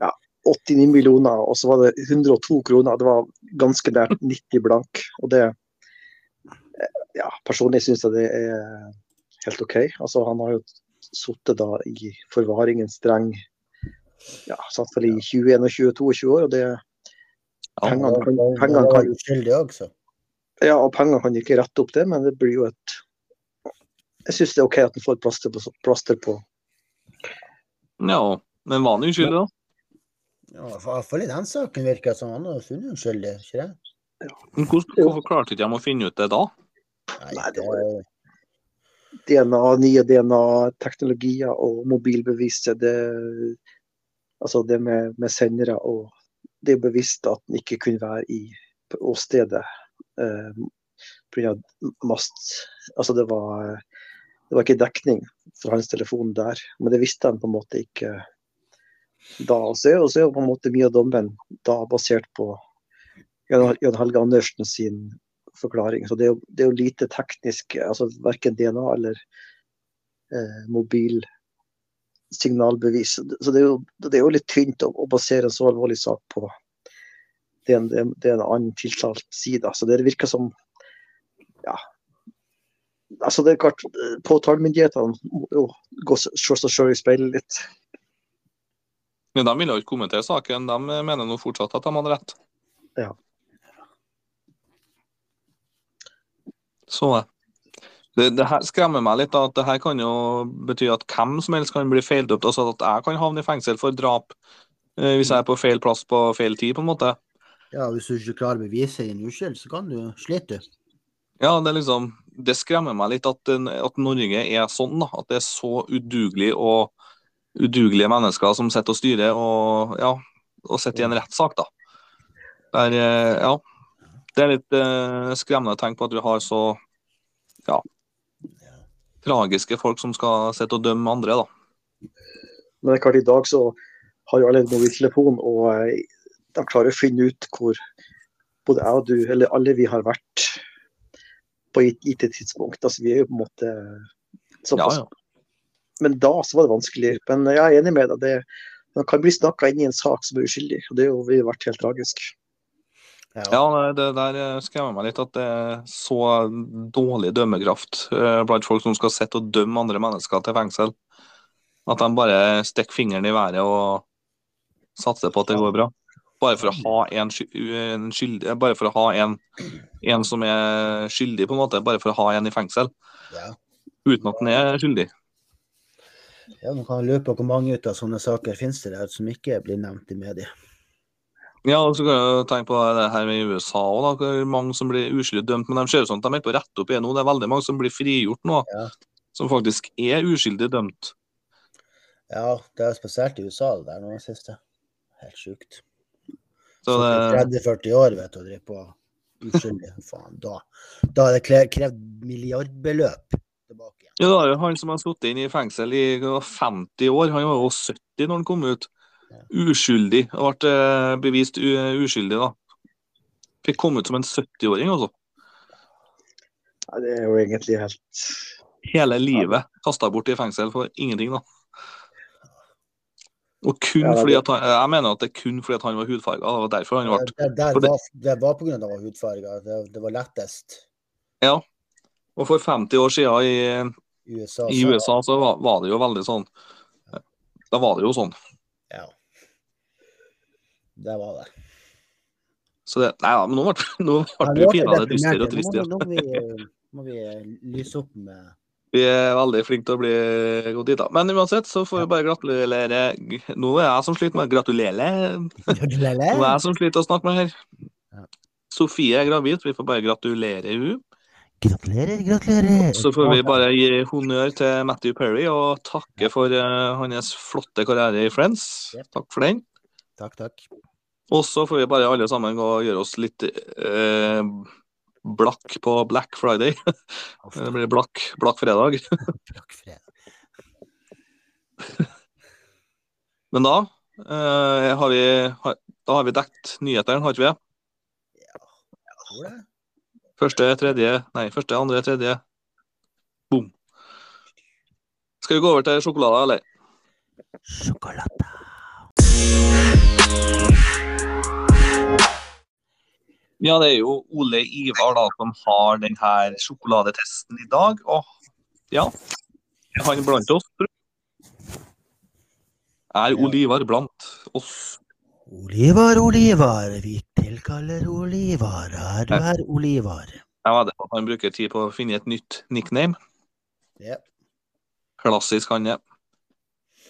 Speaker 4: ja, 89 millioner, og så var det 102 kroner. Det var ganske nært 90 blank. Og det eh, Ja, personlig syns jeg det er helt OK. Altså, han har jo sittet da i forvaring en streng ja, satt vel i 21 og 22 år, og det
Speaker 1: Ja.
Speaker 4: Penger. Pengene kan-
Speaker 2: Da- da-
Speaker 4: pengene
Speaker 2: da er
Speaker 4: kan-
Speaker 2: du skyldig også.
Speaker 4: Ja, og penger kan ikke rette opp det, men det blir jo et Jeg syns det er OK at en får et plaster på, plaster på.
Speaker 1: ja. Men var han uskyldig, da?
Speaker 2: Ja, I hvert fall i den saken virker det som han har funnet uskyldig, ikke det?
Speaker 1: Men hvordan- Hvorfor klarte ikke de å finne ut det da?
Speaker 4: Nei, det DNA, nye DNA-teknologier og mobilbeviset. Det, altså det med, med sendere og Det er bevisst at en ikke kunne være i på åstedet eh, pga. mast Altså det var Det var ikke dekning fra hans telefon der, men det visste han på en måte ikke da. Og så er og så er jo på en måte mye av dommen da basert på Jan Jan Helge Andersen sin forklaring. Så det er jo, det er jo lite teknisk, altså verken DNA eller eh, mobil signalbevis. Så det er jo, det er jo litt tynt å, å basere en så alvorlig sak på det en, det en- det en annen tiltalt sier. da. Så det virker som ja. Altså det er klart, eh, Påtalemyndighetene må jo gå, se seg selv i speilet litt.
Speaker 1: Men de ville jo ikke kommentere saken. De mener nå fortsatt at de hadde rett.
Speaker 4: Ja.
Speaker 1: Så det, det her skremmer meg litt. da, at det her kan jo bety at hvem som helst kan bli feildømt. Altså at jeg kan havne i fengsel for drap eh, hvis jeg er på feil plass på feil tid, på en måte.
Speaker 2: Ja, hvis du ikke klarer å bevise din uskyld, så kan du slite.
Speaker 1: Ja, det er liksom Det skremmer meg litt at, den- at Norge er sånn, da. At det er så udugelig og udugelige mennesker som sitter og styrer og ja, og sitter i en rettssak, da. Der, eh, ja. Det er litt eh, skremmende å tenke på at vi har så ja, tragiske folk som skal sitte og dømme andre, da.
Speaker 4: Men det er klart, i dag så har jo alle en mobiltelefon, og eh, de klarer å finne ut hvor både jeg og du, eller alle vi har vært på et gitt tidspunkt. Altså, vi er jo på en måte
Speaker 1: Ja,
Speaker 4: såpass
Speaker 1: ja.
Speaker 4: Men da så var det vanskelig. Men jeg er enig med deg. Det, man kan bli snakka inn i en sak som er uskyldig, og det har jo vi vært helt tragisk.
Speaker 1: Ja, nei, det der eh, skremmer meg litt at det er så dårlig dømmekraft eh, blant folk som skal sitte og dømme andre mennesker til fengsel. At de bare stikker fingeren i været og satser på at det går bra. Bare for å ha en, sky- en skyldig Bare for å ha en, en som er skyldig, på en måte. Bare for å ha en i fengsel.
Speaker 2: Ja.
Speaker 1: Uten at den er skyldig.
Speaker 2: Ja, Man kan lure på hvor mange ut av sånne saker finnes det der som ikke blir nevnt i media.
Speaker 1: Ja, og så kan jeg jo tenke på det her med USA òg, da. Hvor mange som blir uskyldig dømt. Men de ser ut som de er på rett opp igjen nå. Det er veldig mange som blir frigjort nå.
Speaker 2: Ja.
Speaker 1: Som faktisk er uskyldig dømt.
Speaker 2: Ja, det er spesielt i USA det der nå i det siste. Helt sjukt.
Speaker 1: Så det,
Speaker 2: 30-40 år, vet du, å drive på uskyldig. Faen, da. Da er det kle- krevd milliardbeløp tilbake igjen.
Speaker 1: ja, det er jo han som har sittet inne i fengsel i hva var det, 50 år, han var jo 70 når han kom ut. Uskyldig. Og ble eh, bevist u uskyldig, da. Fikk komme ut som en 70-åring, altså.
Speaker 4: Nei, det er jo egentlig helt
Speaker 1: Hele livet kasta bort i fengsel for ingenting, da. Og kun
Speaker 4: Ja, det-
Speaker 1: fordi at han, Jeg mener at det er kun fordi at han var hudfarga. Det var derfor han ble
Speaker 2: Det, der
Speaker 1: for det-
Speaker 2: var, det var på grunn av hudfarger. Det, det var lettest.
Speaker 1: Og for 50 år siden i,
Speaker 2: I USA.
Speaker 1: i
Speaker 2: så-
Speaker 1: USA så var, var det jo veldig sånn Da var det jo sånn.
Speaker 2: Ja. Det var det.
Speaker 1: Så det, nei, ja, men nå ble, nå ble
Speaker 2: Ja,
Speaker 1: vi
Speaker 2: nå ble
Speaker 1: pinadø
Speaker 2: deprimert
Speaker 1: dystre og
Speaker 2: igjen.
Speaker 1: triste.
Speaker 2: Nå må, vi- nå må vi, nå må vi lyse opp med
Speaker 1: Vi er veldig flinke til å bli gode dit, da. Men uansett så får vi bare gratulere Nå er jeg som sliter med Gratulere! Nå er jeg som sliter å snakke med her.
Speaker 2: Ja.
Speaker 1: Sofie er gravid, vi får bare gratulere hun.
Speaker 2: Gratulerer, gratulerer.
Speaker 1: Så får vi bare gi honnør til Matthew Perry og takke for eh, hans flotte karriere i Friends.
Speaker 2: Yep.
Speaker 1: Takk for den.
Speaker 2: Takk, takk.
Speaker 1: Og så får vi bare alle sammen gå og gjøre oss litt eh, blakk på Black Friday. Det blir blakk, blakk fredag.
Speaker 2: Takk for det.
Speaker 1: Men da eh, har vi har, da har vi dekt nyhetene, har ikke vi?
Speaker 2: Tror det.
Speaker 1: Første, tredje, nei, første, andre, tredje. Boom. Skal vi gå over til sjokolader, eller?
Speaker 2: Sjokolade.
Speaker 1: Ja, det er jo Ole Ivar da, som har denne sjokoladetesten i dag. Og ja, er han blant oss, tror du? Er Ole Ivar blant oss?
Speaker 2: Olivar, Olivar, vi tilkaller Olivar. Er du her, Olivar?
Speaker 1: Jeg vet at han bruker tid på å finne et nytt nickname.
Speaker 2: Ja.
Speaker 1: Klassisk han er.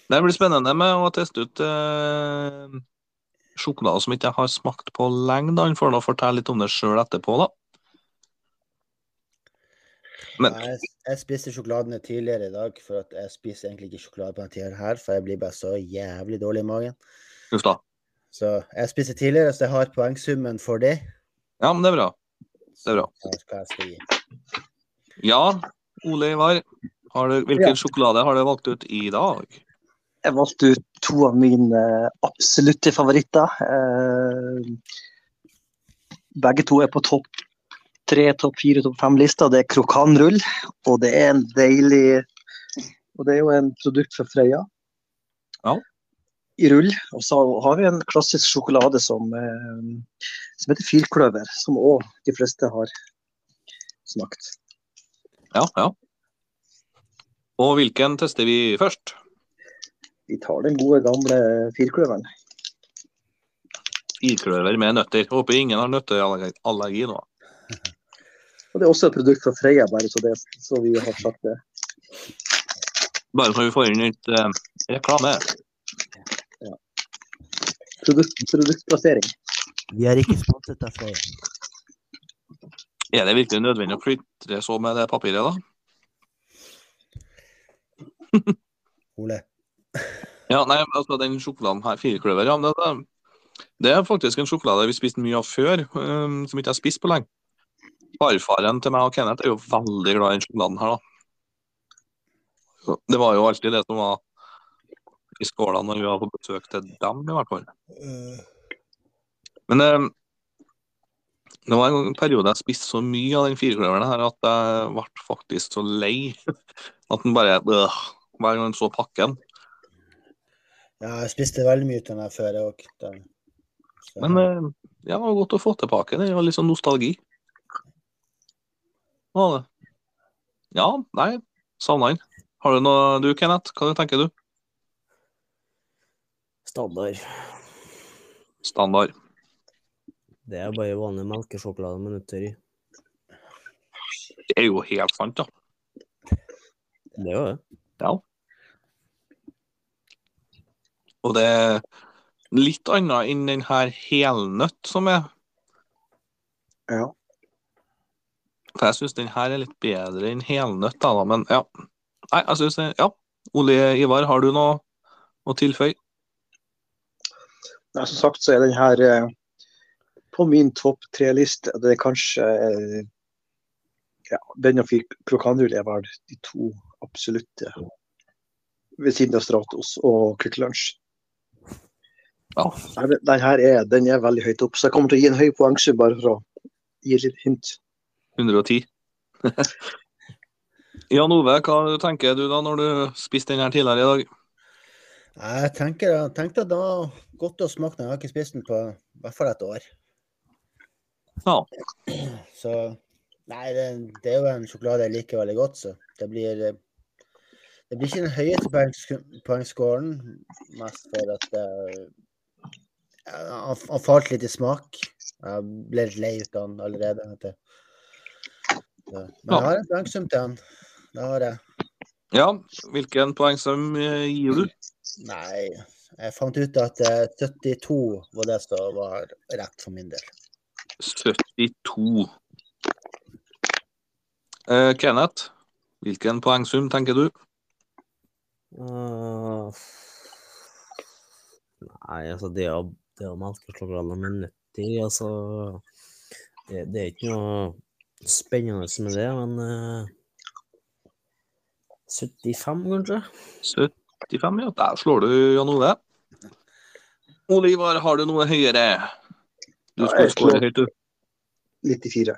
Speaker 1: Det blir spennende med å teste ut eh, sjokolader som ikke jeg har smakt på lenge. da. Han får nå fortelle litt om det sjøl etterpå, da. Men
Speaker 2: Nei, Jeg, jeg spiste sjokoladene tidligere i dag, for at jeg spiser egentlig ikke sjokolade på denne tida her, for jeg blir bare så jævlig dårlig i magen.
Speaker 1: uff da.
Speaker 2: Så jeg spiste tidligere, så jeg har poengsummen for det.
Speaker 1: Ja, men det er bra. Det er bra.
Speaker 2: Så jeg vet hva jeg skal gi.
Speaker 1: Ja, Ole Ivar. Har du, hvilken
Speaker 4: Ja.
Speaker 1: sjokolade har du valgt ut i dag?
Speaker 4: Jeg valgte ut to av mine eh, absolutte favoritter. Eh, Begge to er på topp tre, topp fire, topp fem-lista. Det er krokanrull, og det er en deilig Og det er jo en produkt fra Frøya.
Speaker 1: Ja.
Speaker 4: I rull. Og så har vi en klassisk sjokolade som, eh, som heter fyrkløver, som òg de fleste har smakt.
Speaker 1: Ja, ja. Og hvilken tester vi først?
Speaker 4: Vi tar den gode gamle firkløveren.
Speaker 1: Firkløver med nøtter. Håper ingen har nøtteallergi nå.
Speaker 4: Og det er også et produkt fra Freia, bare så, det, så vi har sagt det.
Speaker 1: Bare så vi får inn litt eh, reklame.
Speaker 4: Produkt, produktplassering.
Speaker 2: Vi er ikke sponset av Freia.
Speaker 1: Er det virkelig nødvendig å klitre så med det papiret, da?
Speaker 2: Ole.
Speaker 1: Ja, nei, altså den sjokoladen her, firkløver, ja, men det, det er faktisk en sjokolade vi spiste mye av før, um, som ikke jeg har spist på lenge. Farfaren til meg og Kenneth er jo veldig glad i den sjokoladen her, da. Så det var jo alltid det som var i skåla når vi var på besøk til dem, i hvert fall. Men um, det var en periode jeg spiste så mye av den firkløveren her at jeg ble faktisk så lei at den bare øh, Hver gang jeg så pakken
Speaker 2: Ja, jeg spiste veldig mye av den her før, jeg òg. Den- så-
Speaker 1: Men eh, ja, det var godt å få tilbake det. Og litt sånn nostalgi. Var det. Ja, nei, savna den. Har du noe du, Kenneth? Hva tenker du?
Speaker 3: Standard.
Speaker 1: Standard.
Speaker 3: Det er bare vanlig melkesjokolade med nøtter i.
Speaker 1: Det er jo helt sant, da.
Speaker 3: Det er jo det.
Speaker 1: Og det er litt annet enn den her helnøtt som er.
Speaker 4: Ja.
Speaker 1: For jeg syns den her er litt bedre enn helnøtt, da, da. Men ja. Nei, jeg syns Ja. Ole Ivar, har du noe å tilføye?
Speaker 4: Nei, som sagt så er den her eh, på min topp tre-liste. Det er kanskje eh, ja, den og fir- krokanrull er vel de to absolutte. Ved siden av Stratos og Quick Lunch.
Speaker 1: Ja.
Speaker 4: Nei, men Den her er, den er veldig høyt opp, så jeg kommer til å gi en høy poengsum bare for å gi et lite hint.
Speaker 1: 110. Jan Ove, hva tenker du da når du spiste den her tidligere i dag?
Speaker 2: Jeg tenker, tenkte at det var godt å smake den. Jeg har ikke spist den på i hvert fall et år.
Speaker 1: Ja.
Speaker 2: Så Nei, det, det er jo en sjokolade jeg liker veldig godt, så det blir eh, Det blir ikke den høyeste poengs- poengskåren, mest for at eh, ja, han han falt litt i smak. Jeg ble litt lei ut av den allerede. vet du. Så, men jeg har en poengsum til han. Det har jeg.
Speaker 1: Ja, hvilken poengsum eh, gir du?
Speaker 2: Nei, jeg fant ut at eh, 72 var det som var rett for min del.
Speaker 1: 72. Eh, Kenneth, hvilken poengsum tenker du?
Speaker 3: Eh, Nei, altså det å, det å melkesjokolade med nøtter i, altså det, det er ikke noe spennende med det, men eh, 75, kanskje?
Speaker 1: 75, ja. Der slår du Jan Ove. Ole Ivar, har du noe høyere? Du
Speaker 4: Ja,
Speaker 1: skulle
Speaker 4: jeg slår-
Speaker 1: skåre høyt, du.
Speaker 4: 94.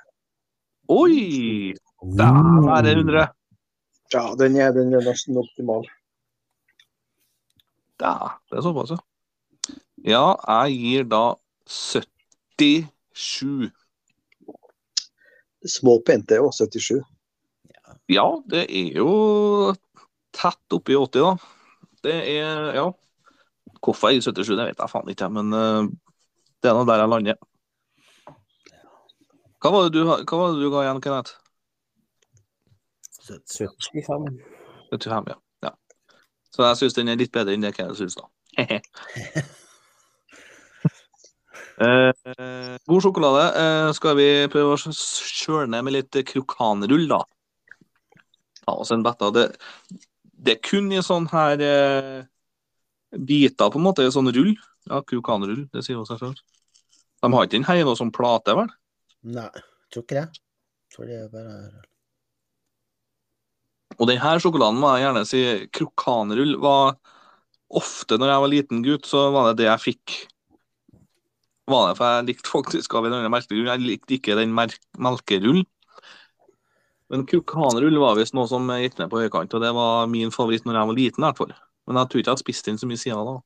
Speaker 1: Oi! Der er det
Speaker 3: Mm.
Speaker 1: 100.
Speaker 4: Ja, den er, den er nesten optimal.
Speaker 1: Da, det er såpass, ja. Ja, jeg gir da 77.
Speaker 4: Småpent det er jo 77.
Speaker 1: Ja, det er jo tett oppi 80, da. Det er Ja. Hvorfor jeg gir 77, det vet jeg faen ikke, men eh, det er nå der jeg lander. Hva var det du, ha- hva var det du ga igjen, Kenneth?
Speaker 3: 75.
Speaker 1: 75, ja. ja. Så jeg syns den er litt bedre enn det Kenneth syns, da. Eh, god sjokolade. Eh, skal vi prøve å kjøre ned med litt krokanrull, da? Ta oss en betta. Det, det er kun i sånne her eh, biter, på en måte. i Sånn rull. Ja, krokanrull. Det sier jo seg selv. De har ikke den her i noe sånn plate, vel?
Speaker 2: Nei, tror ikke det. Tror det er bare
Speaker 1: Og den her sjokoladen må jeg gjerne si krokanrull var ofte når jeg var liten gutt, så var det det jeg fikk. Var det, for jeg likte faktisk av en eller annen merkelig grunn. Jeg likte ikke den mer melkerullen. Men krokanrull var visst noe som gikk ned på høykant, og det var min favoritt når jeg var liten. i hvert fall. Men jeg tror ikke jeg har spist den så mye siden da.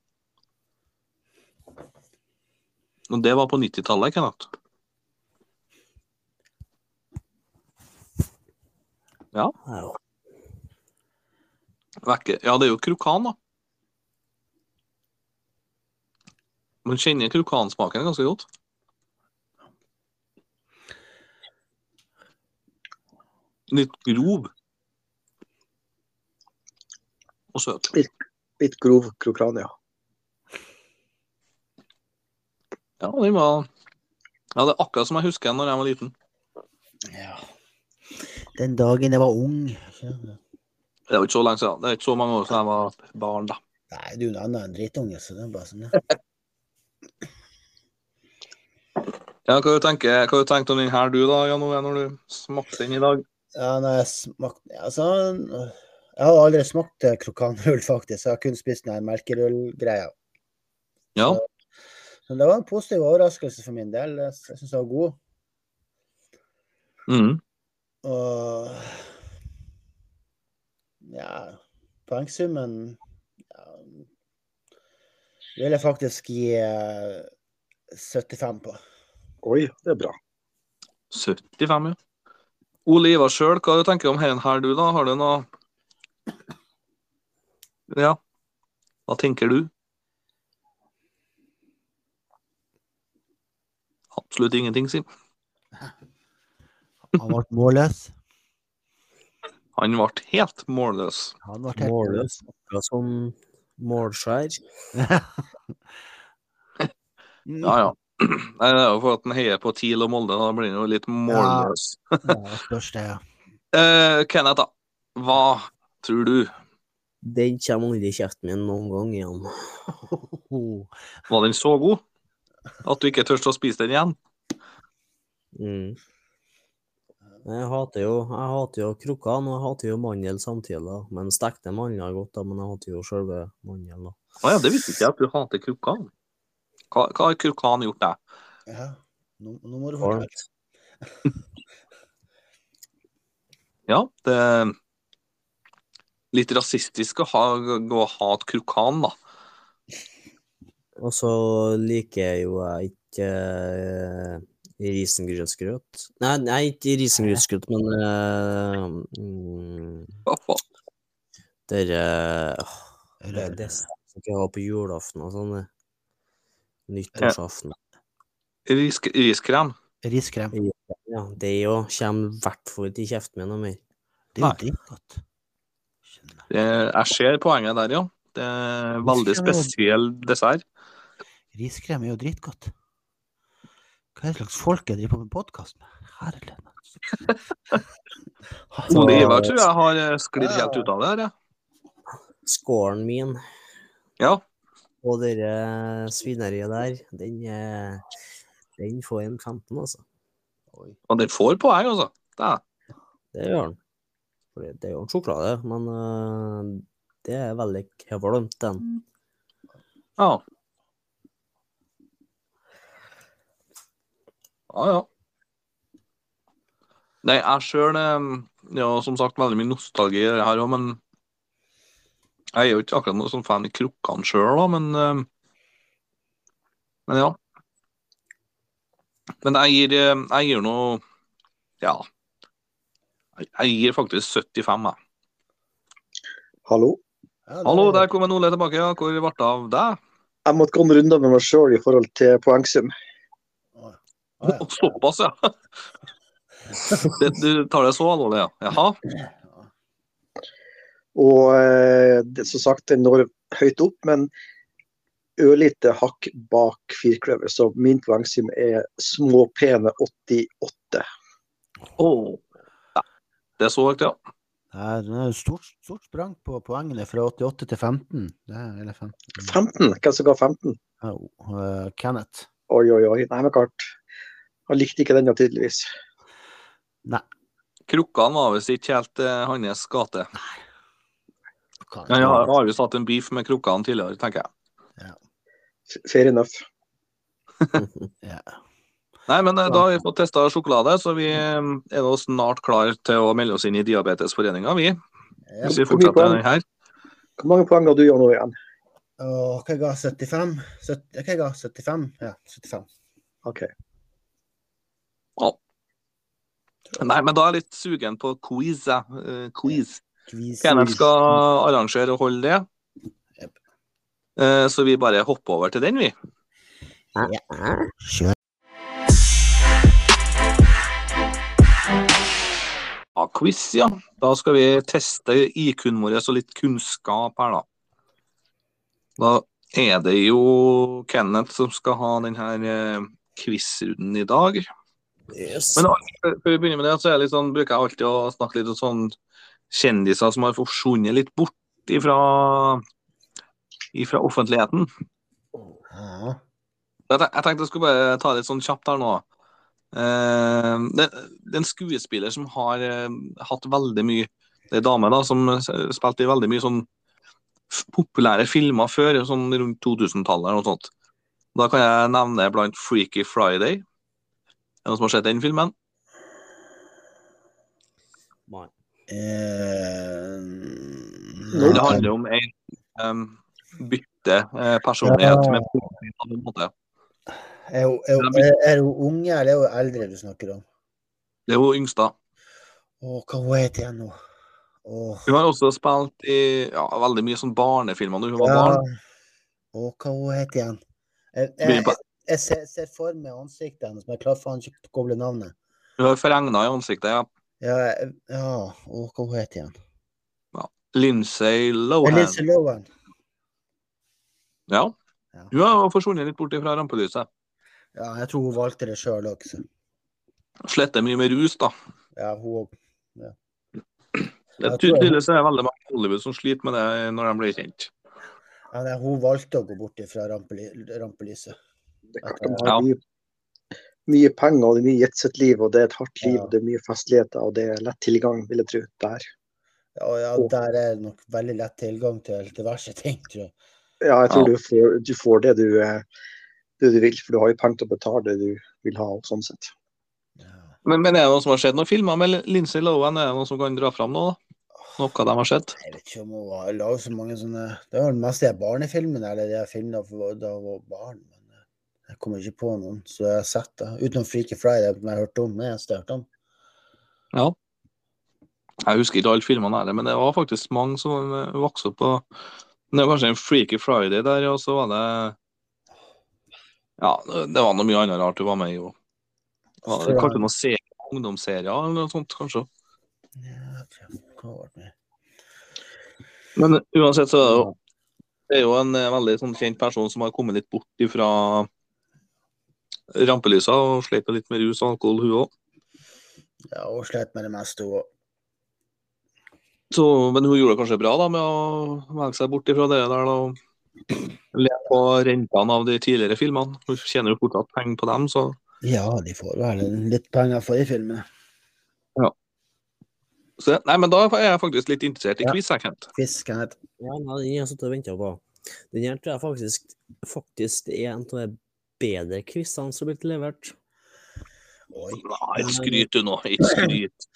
Speaker 1: Og det var på 90-tallet, Kenneth.
Speaker 3: Ja.
Speaker 1: Vekke- Ja, det er jo krokan, da. Man kjenner krokansmaken ganske godt. Litt grov. Og søt.
Speaker 4: Litt grov krokran, ja.
Speaker 1: Ja, den var Ja, det er akkurat som jeg husker den når jeg var liten.
Speaker 2: Ja. Den dagen jeg var ung. skjønner du.
Speaker 1: Det er jo ikke så lenge siden. Det er ikke så mange år siden jeg var barn, da.
Speaker 2: Nei, du er noe annet enn drittunge, så det er bare sånn. ja.
Speaker 1: Ja, hva du tenker hva du tenkte om den her du, da, Jan Ove, når du smakte den i dag?
Speaker 2: Ja, når jeg smakte Altså, jeg har aldri smakt eh, krokanrull, faktisk. Jeg har kun spist den her melkerullgreia.
Speaker 1: Ja.
Speaker 2: Men det var en positiv overraskelse for min del. Jeg s- jeg syns den var god.
Speaker 1: Mhm.
Speaker 2: Og ja, poengsummen ja, vil jeg faktisk gi eh, 75 på.
Speaker 4: Oi, det er bra.
Speaker 1: 75, ja. Ole Ivar sjøl, hva du tenker du om herren her du, da? Har du noe Ja, hva tenker du? Absolutt ingenting, si.
Speaker 2: Han ble målløs.
Speaker 1: Han ble helt målløs.
Speaker 2: Han ble helt målløs.
Speaker 3: Målløs. Akkurat som målskjær.
Speaker 1: Ja, ja. Nei, det er jo for at han heier på TIL og Molde, da blir han jo litt målløs.
Speaker 2: Ja, spørs det, ja.
Speaker 1: Eh, Kenneth, da. Hva tror du?
Speaker 3: Den kommer aldri i kjeften min noen gang igjen.
Speaker 1: Var den så god at du ikke tørste å spise den igjen?
Speaker 3: Mm. Jeg hater jo, jeg hater jo krokene, og jeg hater jo mandel samtidig. da. Men stekte mandler er godt, da, men jeg hater jo selve mandelen. da.
Speaker 1: Å ja, det visste ikke jeg at du hater krokan. Hva, hva har krokan gjort deg?
Speaker 2: ja. Nå, nå må du forklare.
Speaker 3: Varmt.
Speaker 1: Ja, det er litt rasistisk å ha, gå og hate krokan, da.
Speaker 3: Og så liker jo jeg ikke eh, risengrynsgrøt. Nei, nei, ikke risengrynsgrøt, men eh, mm,
Speaker 1: Hva faen?
Speaker 3: dere åh, Det
Speaker 2: Rød.
Speaker 3: er det som jeg har på julaften og sånn. det. Nyttårsaften.
Speaker 1: Risk, riskrem?
Speaker 2: Riskrem.
Speaker 3: Ja, det jo kommer i hvert fall ikke i kjeften min noe mer.
Speaker 2: Det er jo dritgodt. Skjønner.
Speaker 1: Det- Jeg ser poenget der, ja. Det er veldig
Speaker 2: Riskrem er jo-
Speaker 1: spesiell dessert.
Speaker 2: Riskrem er jo dritgodt. Hva er det slags folk jeg driver på med podkast med? Herlighet. altså.
Speaker 1: Ole Ivar tror jeg har eh, sklidd helt ut av det her, jeg.
Speaker 3: Skålen min
Speaker 1: Ja.
Speaker 3: og det eh, svineriet der, den, er- den får en 15, altså.
Speaker 1: Og den får poeng, altså. Det er.
Speaker 3: Det gjør den. Fordi det er jo en sjokolade, men øh, det er veldig kvalmt, den.
Speaker 1: Ja. Ja, ja. Nei, jeg sjøl Ja, som sagt, veldig mye nostalgi i det her òg, men Jeg er jo ikke akkurat noe sånn fan i krukkene sjøl, da, men eh, Men ja. Men jeg gir, eh, jeg gir noe Ja. Jeg- Jeg gir faktisk 75, jeg.
Speaker 4: Hallo.
Speaker 2: Ja, det-
Speaker 1: Hallo, der kom en Ole tilbake. ja. Hvor ble det av deg?
Speaker 4: Jeg måtte gå en runde med meg sjøl i forhold til poengsum.
Speaker 2: Å, å, ja.
Speaker 1: Å, Såpass, ja. Det, du tar det så alvorlig, ja. Jaha.
Speaker 4: Og eh, det, som sagt, den når høyt opp, men ørlite hakk bak firkløver. Så min poengsum er små pene 88.
Speaker 1: Å. Ja. Det er så høyt, ja.
Speaker 2: Nei, Det er jo stort, stort sprang på poengene fra 88 til 15. Det er, eller 15.
Speaker 4: 15? Hvem som ga 15?
Speaker 2: Ja, og, eh, Kenneth.
Speaker 4: Oi, oi, oi. Nei, men klart. Han likte ikke den, da, tydeligvis.
Speaker 1: Krukkene var visst ikke helt eh, hans gate.
Speaker 2: Hva-
Speaker 1: Men jeg har har visst hatt en beef med krukkene tidligere, tenker jeg.
Speaker 4: F- Fair enough.
Speaker 2: Ja.
Speaker 1: Nei, men eh, da har vi fått testa sjokolade, så vi eh, er nå snart klar til å melde oss inn i Diabetesforeninga, vi.
Speaker 2: Ja.
Speaker 1: Hvis vi
Speaker 4: Hvor mye
Speaker 1: fortsetter den her.
Speaker 4: Hvor mange poeng har du, Jan Ove, igjen?
Speaker 2: Og hva jeg ga 75? Sytt- Hva jeg ga 75? Ja, 75.
Speaker 4: OK.
Speaker 1: Nei, men da er jeg litt sugen på quiz, jeg. Eh, quiz.
Speaker 2: Kvis-
Speaker 1: Kenneth skal arrangere og holde det.
Speaker 2: Jep.
Speaker 1: Eh, Så vi bare hopper over til den, vi.
Speaker 2: Kjør.
Speaker 1: Ja, quiz, ja. Da skal vi teste IQ-en vår og litt kunnskap her, da. Da er det jo Kenneth som skal ha denne quiz-runden i dag.
Speaker 3: Yes.
Speaker 1: Men Før vi begynner med det, så er jeg litt sånn, bruker jeg alltid å snakke litt om sånn kjendiser som har forsvunnet litt bort ifra, ifra offentligheten.
Speaker 2: Ja.
Speaker 1: Jeg, tenk- jeg tenkte jeg skulle bare ta litt sånn kjapt her nå. Eh, det, det er en skuespiller som har eh, hatt veldig mye Det er en dame da, som eh, spilte i veldig mye sånn f- populære filmer før, sånn rundt 2000-tallet eller noe sånt. Da kan jeg nevne blant Freaky Friday. Er det noen som har sett den filmen?
Speaker 2: Eh,
Speaker 1: Det handler om en em, bytte eh, personlighet med på en måte.
Speaker 2: er, hun, er, hun, er hun unge, eller er hun eldre du snakker om?
Speaker 1: Det er hun yngste.
Speaker 2: Å, hva hun heter hun nå? Åh.
Speaker 1: Hun har også spilt i ja, veldig mye sånn barnefilmer når hun var barn.
Speaker 2: Og hva hun heter igjen? Jeg, jeg,
Speaker 1: Begynner på-
Speaker 2: jeg, jeg ser, ser for meg ansiktet hennes, men jeg klarer faen ikke å koble navnet.
Speaker 1: Hun har forregna i ansiktet. ja.
Speaker 2: Ja, jeg- ja og hva hun heter igjen?
Speaker 1: Lindsay Lohan.
Speaker 2: Elise Lohan.
Speaker 1: Ja.
Speaker 2: Ja.
Speaker 1: Hun har forsvunnet litt bort fra rampelyset.
Speaker 2: ja, jeg tror hun valgte det sjøl òg.
Speaker 1: Sletter mye med rus, da.
Speaker 2: Ja, hun òg.
Speaker 1: Det
Speaker 2: Jeg
Speaker 1: ty-
Speaker 2: tror jeg-
Speaker 1: tydeligvis er det veldig mange i Hollywood som sliter med det når de blir kjent.
Speaker 2: Ja, nei, hun valgte å gå bort fra rampely, rampelyset.
Speaker 4: Det er klart de har mye, mye penger og det er mye jetset-liv, og det er et hardt liv, og det er mye festligheter, og det er lett tilgang, vil jeg tro, der.
Speaker 2: Ja, og ja, der er det nok veldig lett tilgang til diverse ting, tror jeg.
Speaker 4: Ja, jeg tror
Speaker 1: Ja.
Speaker 4: du får, du får det, du, eh, det du vil, for du har jo penger til å betale det du vil ha, og sånn sett.
Speaker 2: Ja.
Speaker 1: Men, men er det noen som har sett noen filmer med Lindsay Lohan? Er det noen som kan dra fram nå, da? Noe de har sett?
Speaker 2: Jeg vet ikke om hun har laget så mange sånne Det var det meste jeg barnefilmene, eller det jeg filmene fra da jeg var barn. Men eh, jeg kommer ikke på noen, så jeg har sett det. Utenom Freaky Friday, som jeg har hørt om. Det har jeg hørt om.
Speaker 1: Ja. Jeg husker ikke alle filmene heller, men det var faktisk mange som eh, vokste opp på Det var kanskje en Freaky Friday der, og så var det Ja, det var noe mye annet rart du var med i òg. Kanskje noen serier, ungdomsserier eller noe sånt, kanskje.
Speaker 2: Ja, jeg tror jeg har vært med.
Speaker 1: Men uansett så er det jo, det er jo en eh, veldig sånn kjent person som har kommet litt bort ifra rampelysa og slet med litt med rus og alkohol, hun òg.
Speaker 2: Ja, hun slet med det meste, hun òg.
Speaker 1: Men hun gjorde det kanskje bra da med å velge seg bort ifra det der da, og leve på rentene av de tidligere filmene. Hun tjener jo fortsatt penger på dem, så
Speaker 2: Ja, de får vel litt penger for de filmene.
Speaker 1: så, Nei, men da er jeg faktisk litt interessert i
Speaker 2: Ja.
Speaker 1: quiz, jeg, Kent.
Speaker 2: Fisk, kan hete.
Speaker 3: Ja, nei, den har jeg sittet og venta på. Den her tror jeg faktisk, faktisk er en av de bedre quizene som har blitt levert.
Speaker 2: Oi,
Speaker 1: Nei, ikke skryt du nå. Ikke skryt.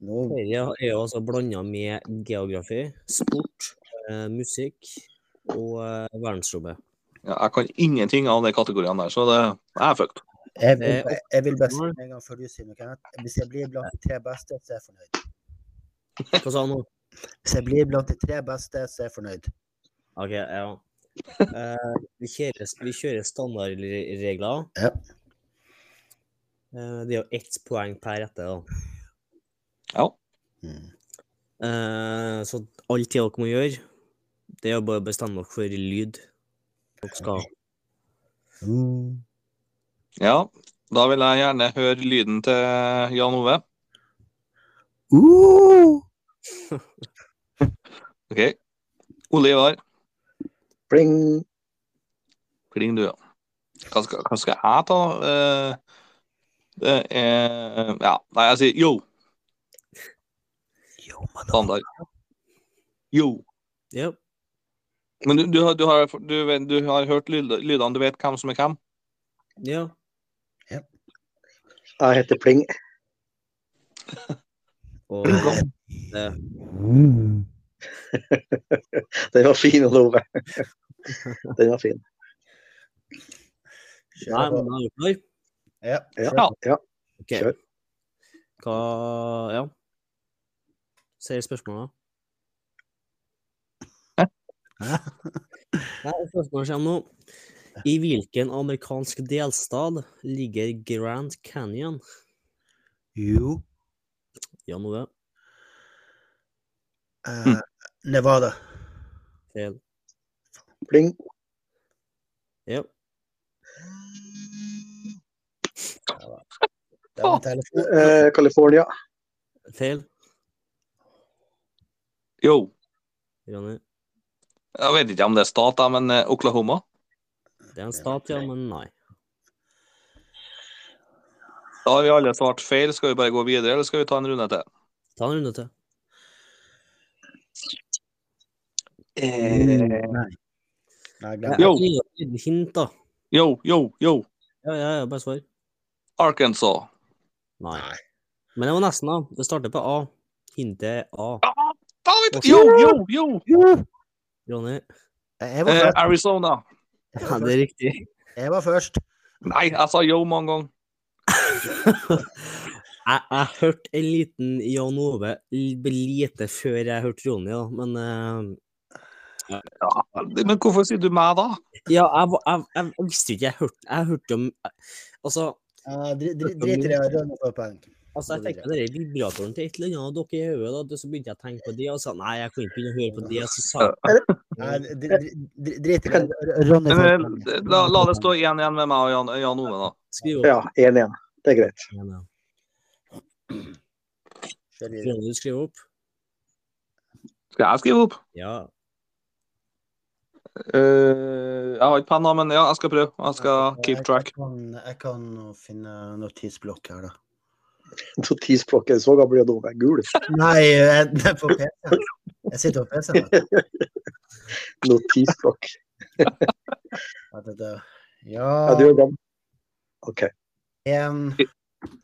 Speaker 2: nå
Speaker 3: Dette er jo altså blanda med geografi, sport, eh, musikk og eh, verdensrommet.
Speaker 1: Ja, jeg kan ingenting av de kategoriene der, så det jeg er fucked.
Speaker 2: Jeg
Speaker 3: Det er
Speaker 2: vil, jeg vil bare si
Speaker 3: spørsmål.
Speaker 2: med en gang før du sier noe, Kenneth. Hvis jeg blir blant de tre beste, så er jeg fornøyd.
Speaker 3: Hva sa han nå?
Speaker 2: Hvis jeg blir blant de tre beste, så er jeg fornøyd.
Speaker 3: OK, ja. Eh, vi kjører, vi kjører standardregler.
Speaker 2: Ja.
Speaker 3: Eh, det er jo ett poeng per rette, da.
Speaker 1: Ja.
Speaker 2: Mm.
Speaker 3: Eh, så alt det dere må gjøre, det er å bare bestemme dere for lyd. Dere skal
Speaker 2: Mm.
Speaker 1: ja. Da vil jeg gjerne høre lyden til Jan Ove.
Speaker 2: Uh!
Speaker 1: OK. Ole Ivar,
Speaker 4: Bling!
Speaker 1: kling du, ja. Hva skal, hva skal jeg ta? Eh, det er Ja, nei, jeg sier yo,
Speaker 2: Jo, man,
Speaker 1: standard. Yo.
Speaker 3: Ja.
Speaker 1: Men du, du, har, du, har, du, vet- du har hørt lyd- lydene, du vet hvem som er hvem?
Speaker 3: ja.
Speaker 4: Jeg heter Pling.
Speaker 3: Og
Speaker 2: Mm.
Speaker 4: Den var fin, Ove. Den var fin.
Speaker 3: Nei,
Speaker 2: Kjør på.
Speaker 3: men da er vi klar.
Speaker 2: Ja.
Speaker 4: Ja.
Speaker 2: kjør på.
Speaker 3: Ok.
Speaker 4: Kjør.
Speaker 3: Hva Ja. Ser spørsmålet.
Speaker 2: Hæ?
Speaker 3: Nei, spørsmålet kommer nå. I hvilken amerikansk delstat ligger Grand Canyon?
Speaker 2: Jo.
Speaker 3: Ja, nå det.
Speaker 2: Eh, Nevada.
Speaker 3: Feil.
Speaker 4: Pling.
Speaker 3: Ja.
Speaker 2: Det var en telefon.
Speaker 4: Eh, California.
Speaker 3: Feil.
Speaker 1: Jo,
Speaker 3: Ronny.
Speaker 1: jeg vet ikke om det er stat, da, men eh, Oklahoma.
Speaker 3: Det er en stat, ja, men nei.
Speaker 1: Da har vi alle svart feil. Skal vi bare gå videre, eller skal vi ta en runde til?
Speaker 3: Ta en runde til.
Speaker 1: Eh,
Speaker 2: Mm, Nei. Nei,
Speaker 3: Jeg
Speaker 2: glem det.
Speaker 1: Jo.
Speaker 3: jeg gir deg et lite hint, da.
Speaker 1: Yo, yo, yo.
Speaker 3: Ja, ja, ja, bare svar.
Speaker 1: Arkansas.
Speaker 3: Nei.
Speaker 2: Nei.
Speaker 3: Men det var nesten, da. Det starter på A. Hintet er A.
Speaker 1: Da vet du- Yo, yo, yo.
Speaker 3: Ronny.
Speaker 2: Jeg var
Speaker 1: Eh,
Speaker 2: først.
Speaker 1: Arizona.
Speaker 3: Ja, det er riktig.
Speaker 2: Jeg var først.
Speaker 1: Nei, jeg sa yo mange ganger.
Speaker 3: Jeg, jeg hørte en liten Jan Ove l- lite før jeg hørte Ronny, da, men eh,
Speaker 1: Ja, men hvorfor sier du meg da?
Speaker 3: Ja, jeg, var- jeg, jeg, jeg visste jo ikke Jeg hørte, jeg hørte om Altså,
Speaker 2: Ja, Eh, dri- dri- Drit i det. Rønne får poeng.
Speaker 3: altså jeg tenkte på den vibratoren til et eller annet av dere i hodet, da, og så begynte jeg å tenke på det, og sa nei, jeg kunne ikke begynne å høre på det, og så sa jeg
Speaker 2: Nei, Eh, dri- dri- dri- Drit i det. Rønne får
Speaker 1: Eh,
Speaker 2: poeng.
Speaker 1: La, la det stå igjen igjen med meg og Jan, Jan Ove, da.
Speaker 3: Skriv opp.
Speaker 4: Ja, 1-1. Det er greit.
Speaker 3: Ja, ja.
Speaker 2: Kjør videre.
Speaker 3: Ronny, du skriver opp?
Speaker 1: Skal jeg skrive opp?
Speaker 3: Ja.
Speaker 1: Eh, jeg har ikke penna, men ja, jeg skal prøve. Jeg skal keep track.
Speaker 2: Jeg kan, jeg kan finne notisblokk her, da.
Speaker 4: Notisblokket så gammel og dum. Jeg er gul.
Speaker 2: Nei, jeg det er på PC. Jeg sitter på PC. vet du.
Speaker 4: Notisblokk.
Speaker 2: At det er-
Speaker 4: Ja, du
Speaker 2: Ja,
Speaker 4: er gammel. OK.
Speaker 2: én
Speaker 1: Én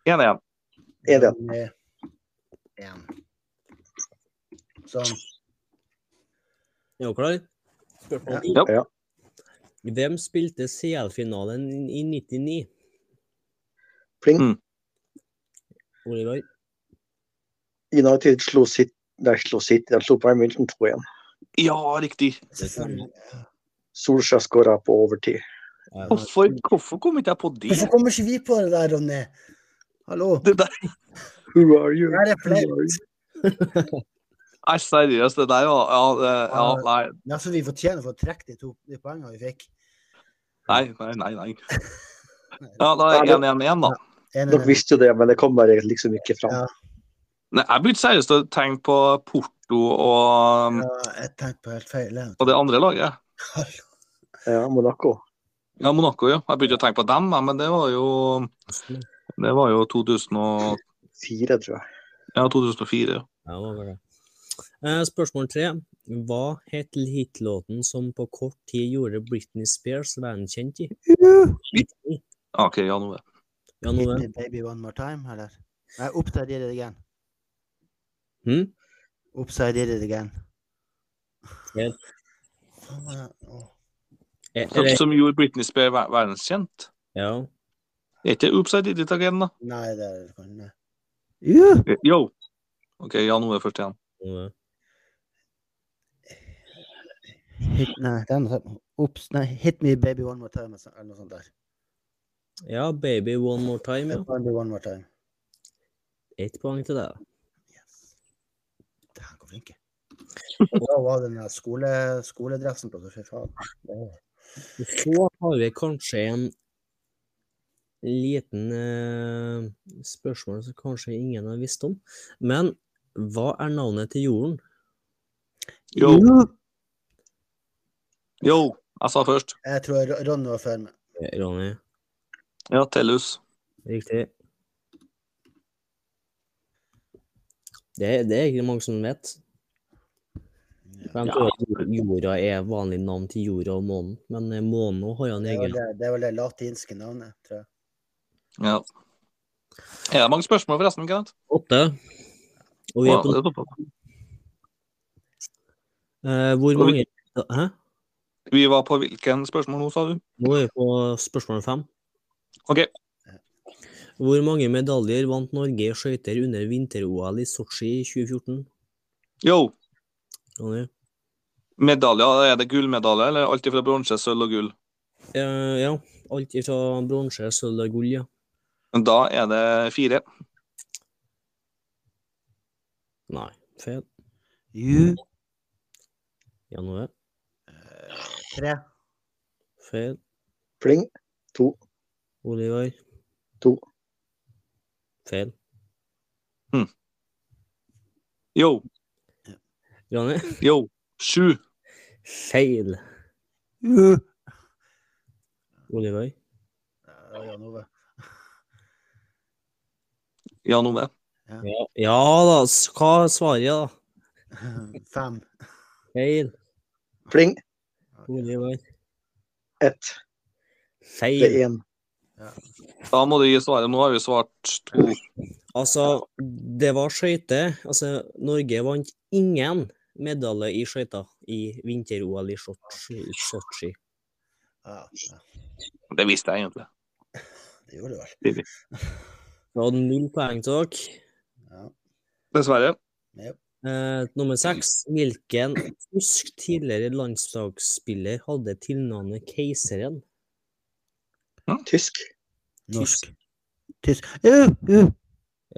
Speaker 1: igjen.
Speaker 4: Er det?
Speaker 2: Én. Sånn.
Speaker 3: Er dere klar? Spørsmål ti.
Speaker 1: Ja.
Speaker 4: Ja.
Speaker 3: Hvem spilte CL-finalen i 99?
Speaker 4: Pling.
Speaker 1: Mm.
Speaker 3: Oliver?
Speaker 4: United slo sitt Nei, slo sitt. De slo Bayern München 2-1.
Speaker 1: Ja, riktig.
Speaker 2: Selvfølgelig.
Speaker 4: Solskjær skåra på overtid.
Speaker 3: Ja, ja.
Speaker 1: Hvorfor, hvorfor kom ikke jeg på
Speaker 2: Hvorfor
Speaker 1: det?
Speaker 2: kommer ikke vi på det der, Ronny? Hallo?
Speaker 1: Det der,
Speaker 4: Who are you?
Speaker 2: Her er
Speaker 4: Who
Speaker 2: flere.
Speaker 4: are you?
Speaker 1: nei, seriøst, det der var ja, det- ja, nei,
Speaker 2: Ja, så vi fortjener for å trekke de to de poengene vi fikk.
Speaker 1: nei, nei, nei, nei. Ja, da er det én igjen igjen, da.
Speaker 2: En,
Speaker 4: Dere visste jo det, men det kom bare liksom ikke fram.
Speaker 2: Ja.
Speaker 1: Nei, jeg begynte seriøst å tenke på Porto og,
Speaker 2: Ja, jeg tenkte på helt feil. jeg.
Speaker 1: og det andre laget.
Speaker 2: Hallo.
Speaker 4: Ja, Monaco.
Speaker 1: Ja, Monaco, ja. Jeg begynte å tenke på dem, jeg, men det var jo Det var jo 2000 og,
Speaker 4: Fire, tror jeg.
Speaker 1: ja, 2004. ja.
Speaker 3: Ja, det var vel det. Eh, Spørsmål tre. Hva het hitlåten som på kort tid gjorde Britney Spears verdenskjent i?
Speaker 1: OK, Jan Ove.
Speaker 3: Ja, nå
Speaker 2: Hit
Speaker 3: er
Speaker 2: me baby one more time, eller? Nei, upside did it again.
Speaker 3: hm?
Speaker 2: Upside did it again.
Speaker 3: Yes.
Speaker 2: Åh, ja. Åh.
Speaker 3: Er, er
Speaker 1: Som,
Speaker 3: det,
Speaker 1: som gjorde Britney Spears ver- verdenskjent.
Speaker 3: ja.
Speaker 1: Er ikke det Upside Did It Again, da?
Speaker 2: Nei, det er det kan jeg.
Speaker 3: Eh,
Speaker 1: Yo! OK, Jan Ove først igjen.
Speaker 3: nå er-
Speaker 2: Hit, nei, det er noe sånt. Ups, nei, hit me baby one more time, altså, eller noe sånt der.
Speaker 3: ja, Baby One More Time, ja.
Speaker 2: Hit me one more time.
Speaker 3: Ett poeng til deg.
Speaker 2: Yes. Det her går flinke. Og da var den der skole, skoledressen på, så fy faen. Åh.
Speaker 3: Så har vi kanskje en liten eh, spørsmål som kanskje ingen har visst om. Men hva er navnet til jorden?
Speaker 1: Yo! Yo! Jeg sa først.
Speaker 2: Jeg tror Ron- Ronny var før meg.
Speaker 3: Eh, Ronny,
Speaker 1: Ja, Tellus.
Speaker 3: riktig. Det, det er ikke mange som vet.
Speaker 2: Ja.
Speaker 3: Men
Speaker 1: Ja.
Speaker 3: tror jeg jorda er vanlig navn til jorda og månen, men eh, månen også har jo en
Speaker 2: Det var
Speaker 3: egen.
Speaker 2: det, det var det latinske navnet, tror jeg.
Speaker 1: Ja. Er det mange spørsmål, forresten? Kenneth?
Speaker 3: Åtte. Og vi
Speaker 1: Ja,
Speaker 3: er på,
Speaker 1: det er altså. toppen.
Speaker 3: eh, hvor
Speaker 1: og
Speaker 3: mange Hæ?
Speaker 1: Vi var på hvilken spørsmål nå, sa du?
Speaker 3: Nå er vi på spørsmål fem.
Speaker 1: OK.
Speaker 3: Hvor mange medaljer vant Norge i skøyter under vinter-OL i Sotsji i 2014?
Speaker 1: Yo!
Speaker 3: Ronny?
Speaker 1: Medaljer, er det gullmedaljer, eller alt fra bronse, sølv og gull?
Speaker 3: Eh, ja. Alt ifra bronse, sølv og gull, ja.
Speaker 1: Men da er det fire.
Speaker 3: Nei, feil.
Speaker 2: Ju.
Speaker 3: Januar.
Speaker 2: Tre.
Speaker 3: Feil.
Speaker 4: Pling. To.
Speaker 3: Oliver.
Speaker 4: To.
Speaker 3: Feil.
Speaker 1: Yo,
Speaker 3: Ronny.
Speaker 1: yo. Sju.
Speaker 3: Feil.
Speaker 2: Ju.
Speaker 3: Oliver.
Speaker 2: Ja, Jan Ove.
Speaker 1: Jan Ove.
Speaker 3: Ja, ja da, s- hva svarer jeg, da?
Speaker 2: Fem.
Speaker 3: Feil.
Speaker 4: Pling.
Speaker 3: Oliver.
Speaker 4: Ett. Det
Speaker 3: Feil.
Speaker 4: er én.
Speaker 1: Da må du gi svaret. Nå har vi svart to.
Speaker 3: Altså, det var skøyter. Altså, Norge vant ingen medalje i skøyter i vinter-OL i Sotsji. Sotsji.
Speaker 2: Ja, ja,
Speaker 1: Det visste jeg egentlig.
Speaker 2: det gjorde du vel.
Speaker 3: Det var null poeng til dere.
Speaker 2: Ja.
Speaker 1: Dessverre.
Speaker 3: Eh, nummer seks. Hvilken tysk tidligere landslagsspiller hadde tilnavnet Keiseren?
Speaker 4: Tysk.
Speaker 2: Norsk. Tysk. Uh, uh.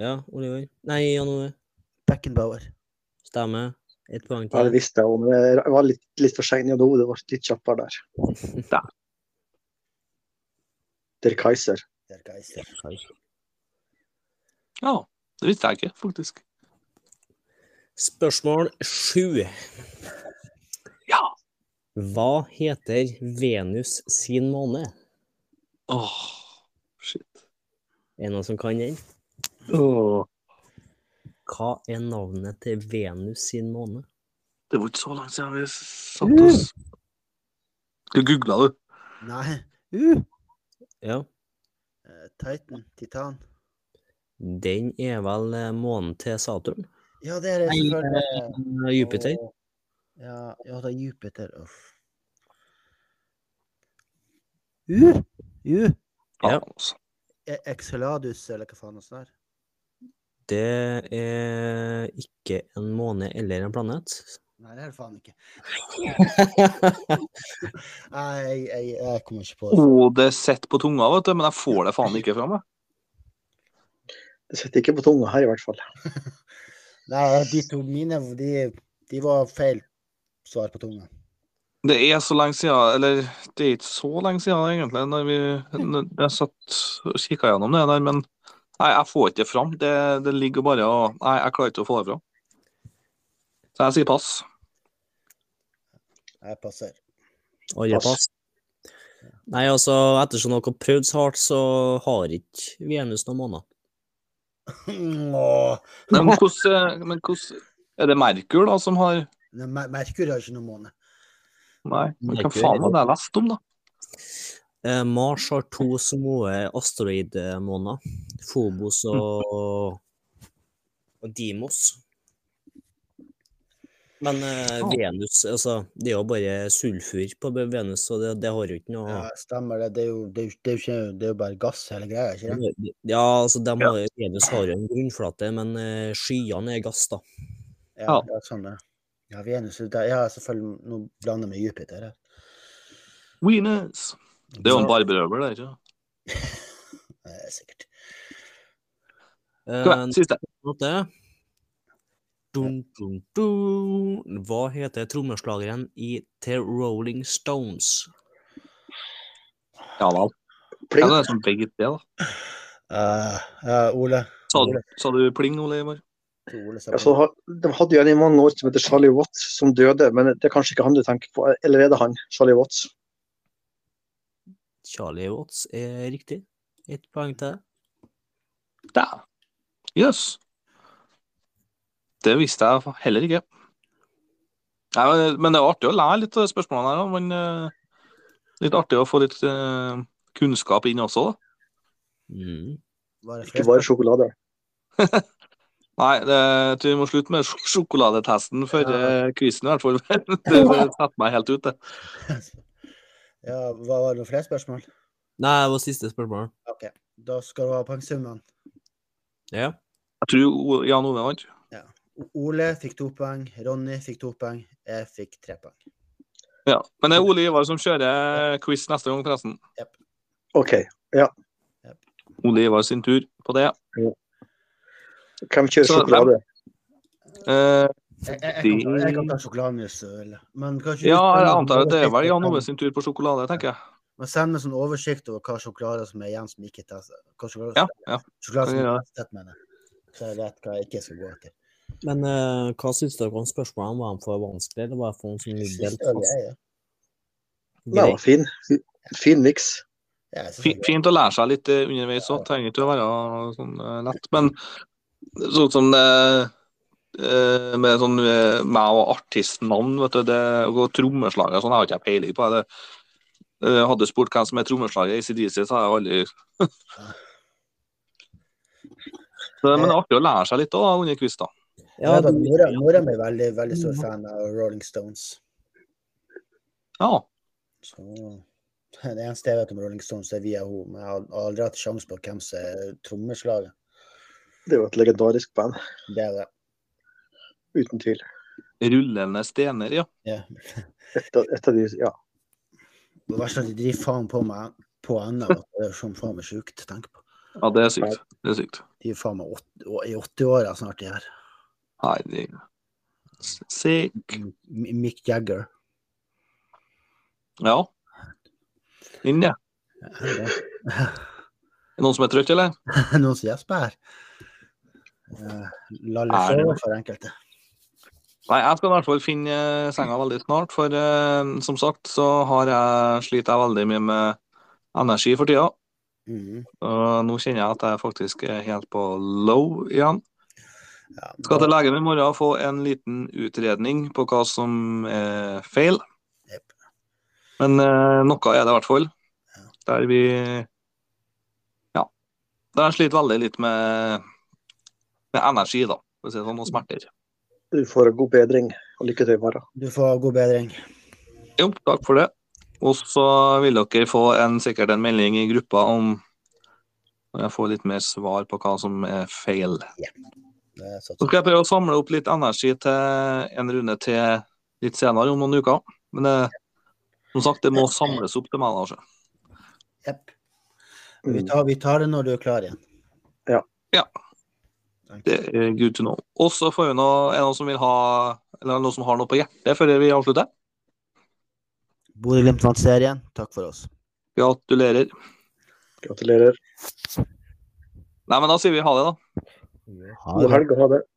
Speaker 3: Ja, Oliver? Nei, Jan Ove.
Speaker 2: Beckenbauer.
Speaker 3: Stemmer. Ett poeng
Speaker 4: Ja,
Speaker 3: til.
Speaker 4: det visste jeg òg, men jeg var litt, litt for sein i hodet. Det ble litt kjappere der. Der Kaiser.
Speaker 2: Der Geiser.
Speaker 1: Ja, det visste jeg ikke, faktisk.
Speaker 3: Spørsmål sju.
Speaker 1: Ja.
Speaker 3: Hva heter Venus sin måne?
Speaker 1: Åh, shit.
Speaker 3: Er det noen som kan den?
Speaker 1: Åh.
Speaker 3: Hva er navnet til Venus sin måne?
Speaker 1: Det var ikke så langt siden vi satt
Speaker 3: Mm.
Speaker 1: oss. Du googla, du.
Speaker 2: Nei. Uh.
Speaker 3: Ja,
Speaker 2: Eh, Titan. Titan.
Speaker 3: den er vel eh, månen til Saturn?
Speaker 2: Ja, det er det
Speaker 3: Nei,
Speaker 2: selvfølgelig.
Speaker 3: eh, Jupiter?
Speaker 2: Og- Ja, ja, det er Jupiter. Uff. Uh. Uh.
Speaker 3: Ja.
Speaker 1: Faen, altså.
Speaker 2: E- Exceladus, eller hva faen det er.
Speaker 3: Det er ikke en måne eller en planet.
Speaker 2: Nei, det er det faen ikke. Nei, jeg, jeg kommer ikke på det.
Speaker 1: Åh, det sitter på tunga, vet du, men jeg får det faen ikke fra meg.
Speaker 4: Det sitter ikke på tunga her, i hvert fall.
Speaker 2: Nei, de to mine, de, de var feil svar på tunga.
Speaker 1: Det er så lenge siden, eller det er ikke så lenge siden egentlig, når vi når jeg satt og kikka gjennom det der, men nei, jeg får ikke det fram. Det, det ligger bare og Nei, jeg klarer ikke å få det fram. Så jeg sier pass.
Speaker 2: Jeg passer.
Speaker 3: Alle pass.
Speaker 4: Pass.
Speaker 3: Nei, altså, ettersom dere har prøvd så hardt, så har ikke Venus noen måned.
Speaker 2: Åh.
Speaker 1: Nei, Men hvordan men hvordan- Er det Merkur, da, som har
Speaker 2: Nei, Mer- Merkur har ikke noen måned.
Speaker 1: Nei, men hva
Speaker 3: Merkur,
Speaker 1: faen var det jeg leste om, da?
Speaker 3: Eh, Mars har to små asteroidmåneder. Phobos og, og Dimos. Men eh,
Speaker 1: Ah.
Speaker 3: Venus altså, Det er jo bare sulfur på be- Venus, så det, det har jo ikke noe
Speaker 2: Ja, stemmer det. Det er jo, det er jo, det er jo, ikke, det er jo bare gass hele greia, ikke det?
Speaker 3: Ja, altså, dem har, Venus har jo en grunnflate, men eh, skyene er gass, da.
Speaker 2: Ja, ja sånn det. Ja, Venus er der. Ja, selvfølgelig. Nå blander jeg med Jupiter. her.
Speaker 1: Venus. Det er jo en
Speaker 2: Så-
Speaker 1: barberøver, det, ikke sant?
Speaker 2: Nei, det er sikkert.
Speaker 1: Kom igjen,
Speaker 3: Eh,
Speaker 1: Siste.
Speaker 3: Måte. Dun, dun, dun. Hva heter trommeslageren i The Rolling Stones?
Speaker 1: Ja vel. Ja,
Speaker 4: Pling.
Speaker 1: det er som begge det, da.
Speaker 2: Eh, ja, Ole.
Speaker 1: Sa du, sa du pling, Ole Ivar?
Speaker 2: To Ole sa
Speaker 4: Ja, så
Speaker 2: på.
Speaker 4: har- Altså, de hadde jo en i mange år som heter Charlie Watts, som døde. Men det er kanskje ikke han du tenker på. Eller er det han? Charlie Watts.
Speaker 3: Charlie Watts er riktig. Ett poeng til.
Speaker 1: Dæven. Jøss. Yes. Det visste jeg heller ikke. Nei, men- men det er artig å lære litt av de spørsmålene her. da, Men eh, litt artig å få litt eh, kunnskap inn også. da.
Speaker 3: Mm.
Speaker 2: Var det
Speaker 4: Ikke
Speaker 2: flere
Speaker 4: bare sjokolade.
Speaker 1: Nei, det, jeg tror vi må slutte med sj- sjokoladetesten for
Speaker 2: Ja.
Speaker 1: ja. quizen, i hvert fall. det det setter meg helt ut, det.
Speaker 2: spørsmål? Ja, hva var det noen flere spørsmål?
Speaker 3: Nei, det var siste spørsmål.
Speaker 2: Ok, da skal du ha poengsummene.
Speaker 3: Ja.
Speaker 1: Jeg tror O- Jan Ove vant.
Speaker 2: O- Ole fikk to poeng, Ronny fikk to poeng, jeg fikk tre poeng.
Speaker 1: Ja. Men det er Ole Ivar som kjører eh, quiz neste gang, forresten.
Speaker 4: OK.
Speaker 1: Ole Ivar sin tur på det.
Speaker 4: Hvem kjører
Speaker 1: Så-
Speaker 4: sjokolade?
Speaker 1: Eh,
Speaker 2: Jeg, jeg, jeg, kan, ta- jeg kan ta sjokolademus. eller- Men kanskje
Speaker 1: ja, jeg antar at det er vel Jan Ove sin tur på sjokolade, tenker jeg.
Speaker 2: Men send en sånn oversikt over hva sjokolader som er igjen som ikke tas. Hva sjokolader,
Speaker 1: Ja, ja.
Speaker 2: sjokolade som
Speaker 1: kan gjøre
Speaker 2: er tett, mener jeg. Så jeg vet hva jeg ikke skal gå etter.
Speaker 3: Men eh, hva syns dere om spørsmålene? Var de for vanskelige, eller var det for noen som ligger
Speaker 2: Siste
Speaker 3: helt
Speaker 2: øl,
Speaker 3: fast?
Speaker 2: jeg, ja.
Speaker 4: Nei,
Speaker 3: Greit.
Speaker 4: fin. Fin miks.
Speaker 2: Ja, jeg synes
Speaker 1: Fi-
Speaker 2: det er
Speaker 1: Fint å lære seg litt eh, underveis òg. Trenger ikke å være sånn eh, lett. Men sånn som det eh, med sånn eh, meg og artistnavn, vet du, det, og trommeslager og sånn, har ikke jeg peiling på. Jeg eh, hadde spurt hvem som er trommeslager i ACDC, så har jeg aldri så, Men det er artig å lære seg litt òg, under quiz, da.
Speaker 3: Ja,
Speaker 2: da,
Speaker 3: du-
Speaker 2: mora, mora mi er veldig, veldig stor fan av Rolling Stones.
Speaker 1: Ja.
Speaker 2: Så det eneste jeg vet om Rolling Stones, er via henne. Men jeg har aldri hatt sjanse på hvem som er trommeslaget.
Speaker 4: Det er jo et legendarisk band,
Speaker 2: Det er det.
Speaker 4: uten tvil.
Speaker 1: Rullende stener, ja.
Speaker 2: Ja.
Speaker 4: Et av, et av de, ja.
Speaker 2: Det verste er at de driver faen på meg på ennå. at Det er sånn faen meg sjukt. Tenk på.
Speaker 1: Ja, det er sykt. Det er sykt.
Speaker 2: De er faen meg åt- å- i 80-åra snart, de her.
Speaker 1: Nei, det Sick.
Speaker 2: M- Mick Jagger.
Speaker 1: Ja. Inn, ja. Er det Noen som er trøtt, eller?
Speaker 2: Noen som gjesper her? Eh, Lalle
Speaker 1: Er det-
Speaker 2: Sjø for enkelte.
Speaker 1: Nei, jeg skal i hvert fall finne eh, senga veldig snart, for eh, som sagt så har jeg sliter jeg veldig mye med energi for tida.
Speaker 2: Mhm.
Speaker 1: Og nå kjenner jeg at jeg faktisk er helt på low igjen.
Speaker 2: Ja,
Speaker 1: Skal
Speaker 2: da-
Speaker 1: til legen i morgen og få en liten utredning på hva som er feil.
Speaker 2: Jepp.
Speaker 1: Men eh, noe er det i hvert fall. Der vi Ja. Der jeg sliter veldig litt med, med energi, da. For å si det sånn, og smerter.
Speaker 4: Du får god bedring og lykke til i morgen.
Speaker 2: Du får god bedring.
Speaker 1: Jo, takk for det. Og så vil dere få en, sikkert en melding i gruppa om når jeg får litt mer svar på hva som er feil.
Speaker 2: Det satser
Speaker 1: Så skal jeg prøve å samle opp litt energi til en runde til litt senere, om noen uker. Men det, som sagt, det må samles opp til meg. da, altså.
Speaker 2: Jepp. Vi
Speaker 4: Mm.
Speaker 2: tar, vi tar det når du er klar igjen.
Speaker 4: Ja.
Speaker 1: Ja. Det er good to know. Og så får vi noe, er det noen som vil ha eller er det noen som har noe på hjertet før vi avslutter.
Speaker 2: Bodø-Glimt vant serien. Takk for oss.
Speaker 1: Gratulerer.
Speaker 4: Mm. Gratulerer.
Speaker 1: Nei, men da sier vi ha det, da.
Speaker 3: Ha
Speaker 4: God
Speaker 3: det.
Speaker 4: helg og ha det.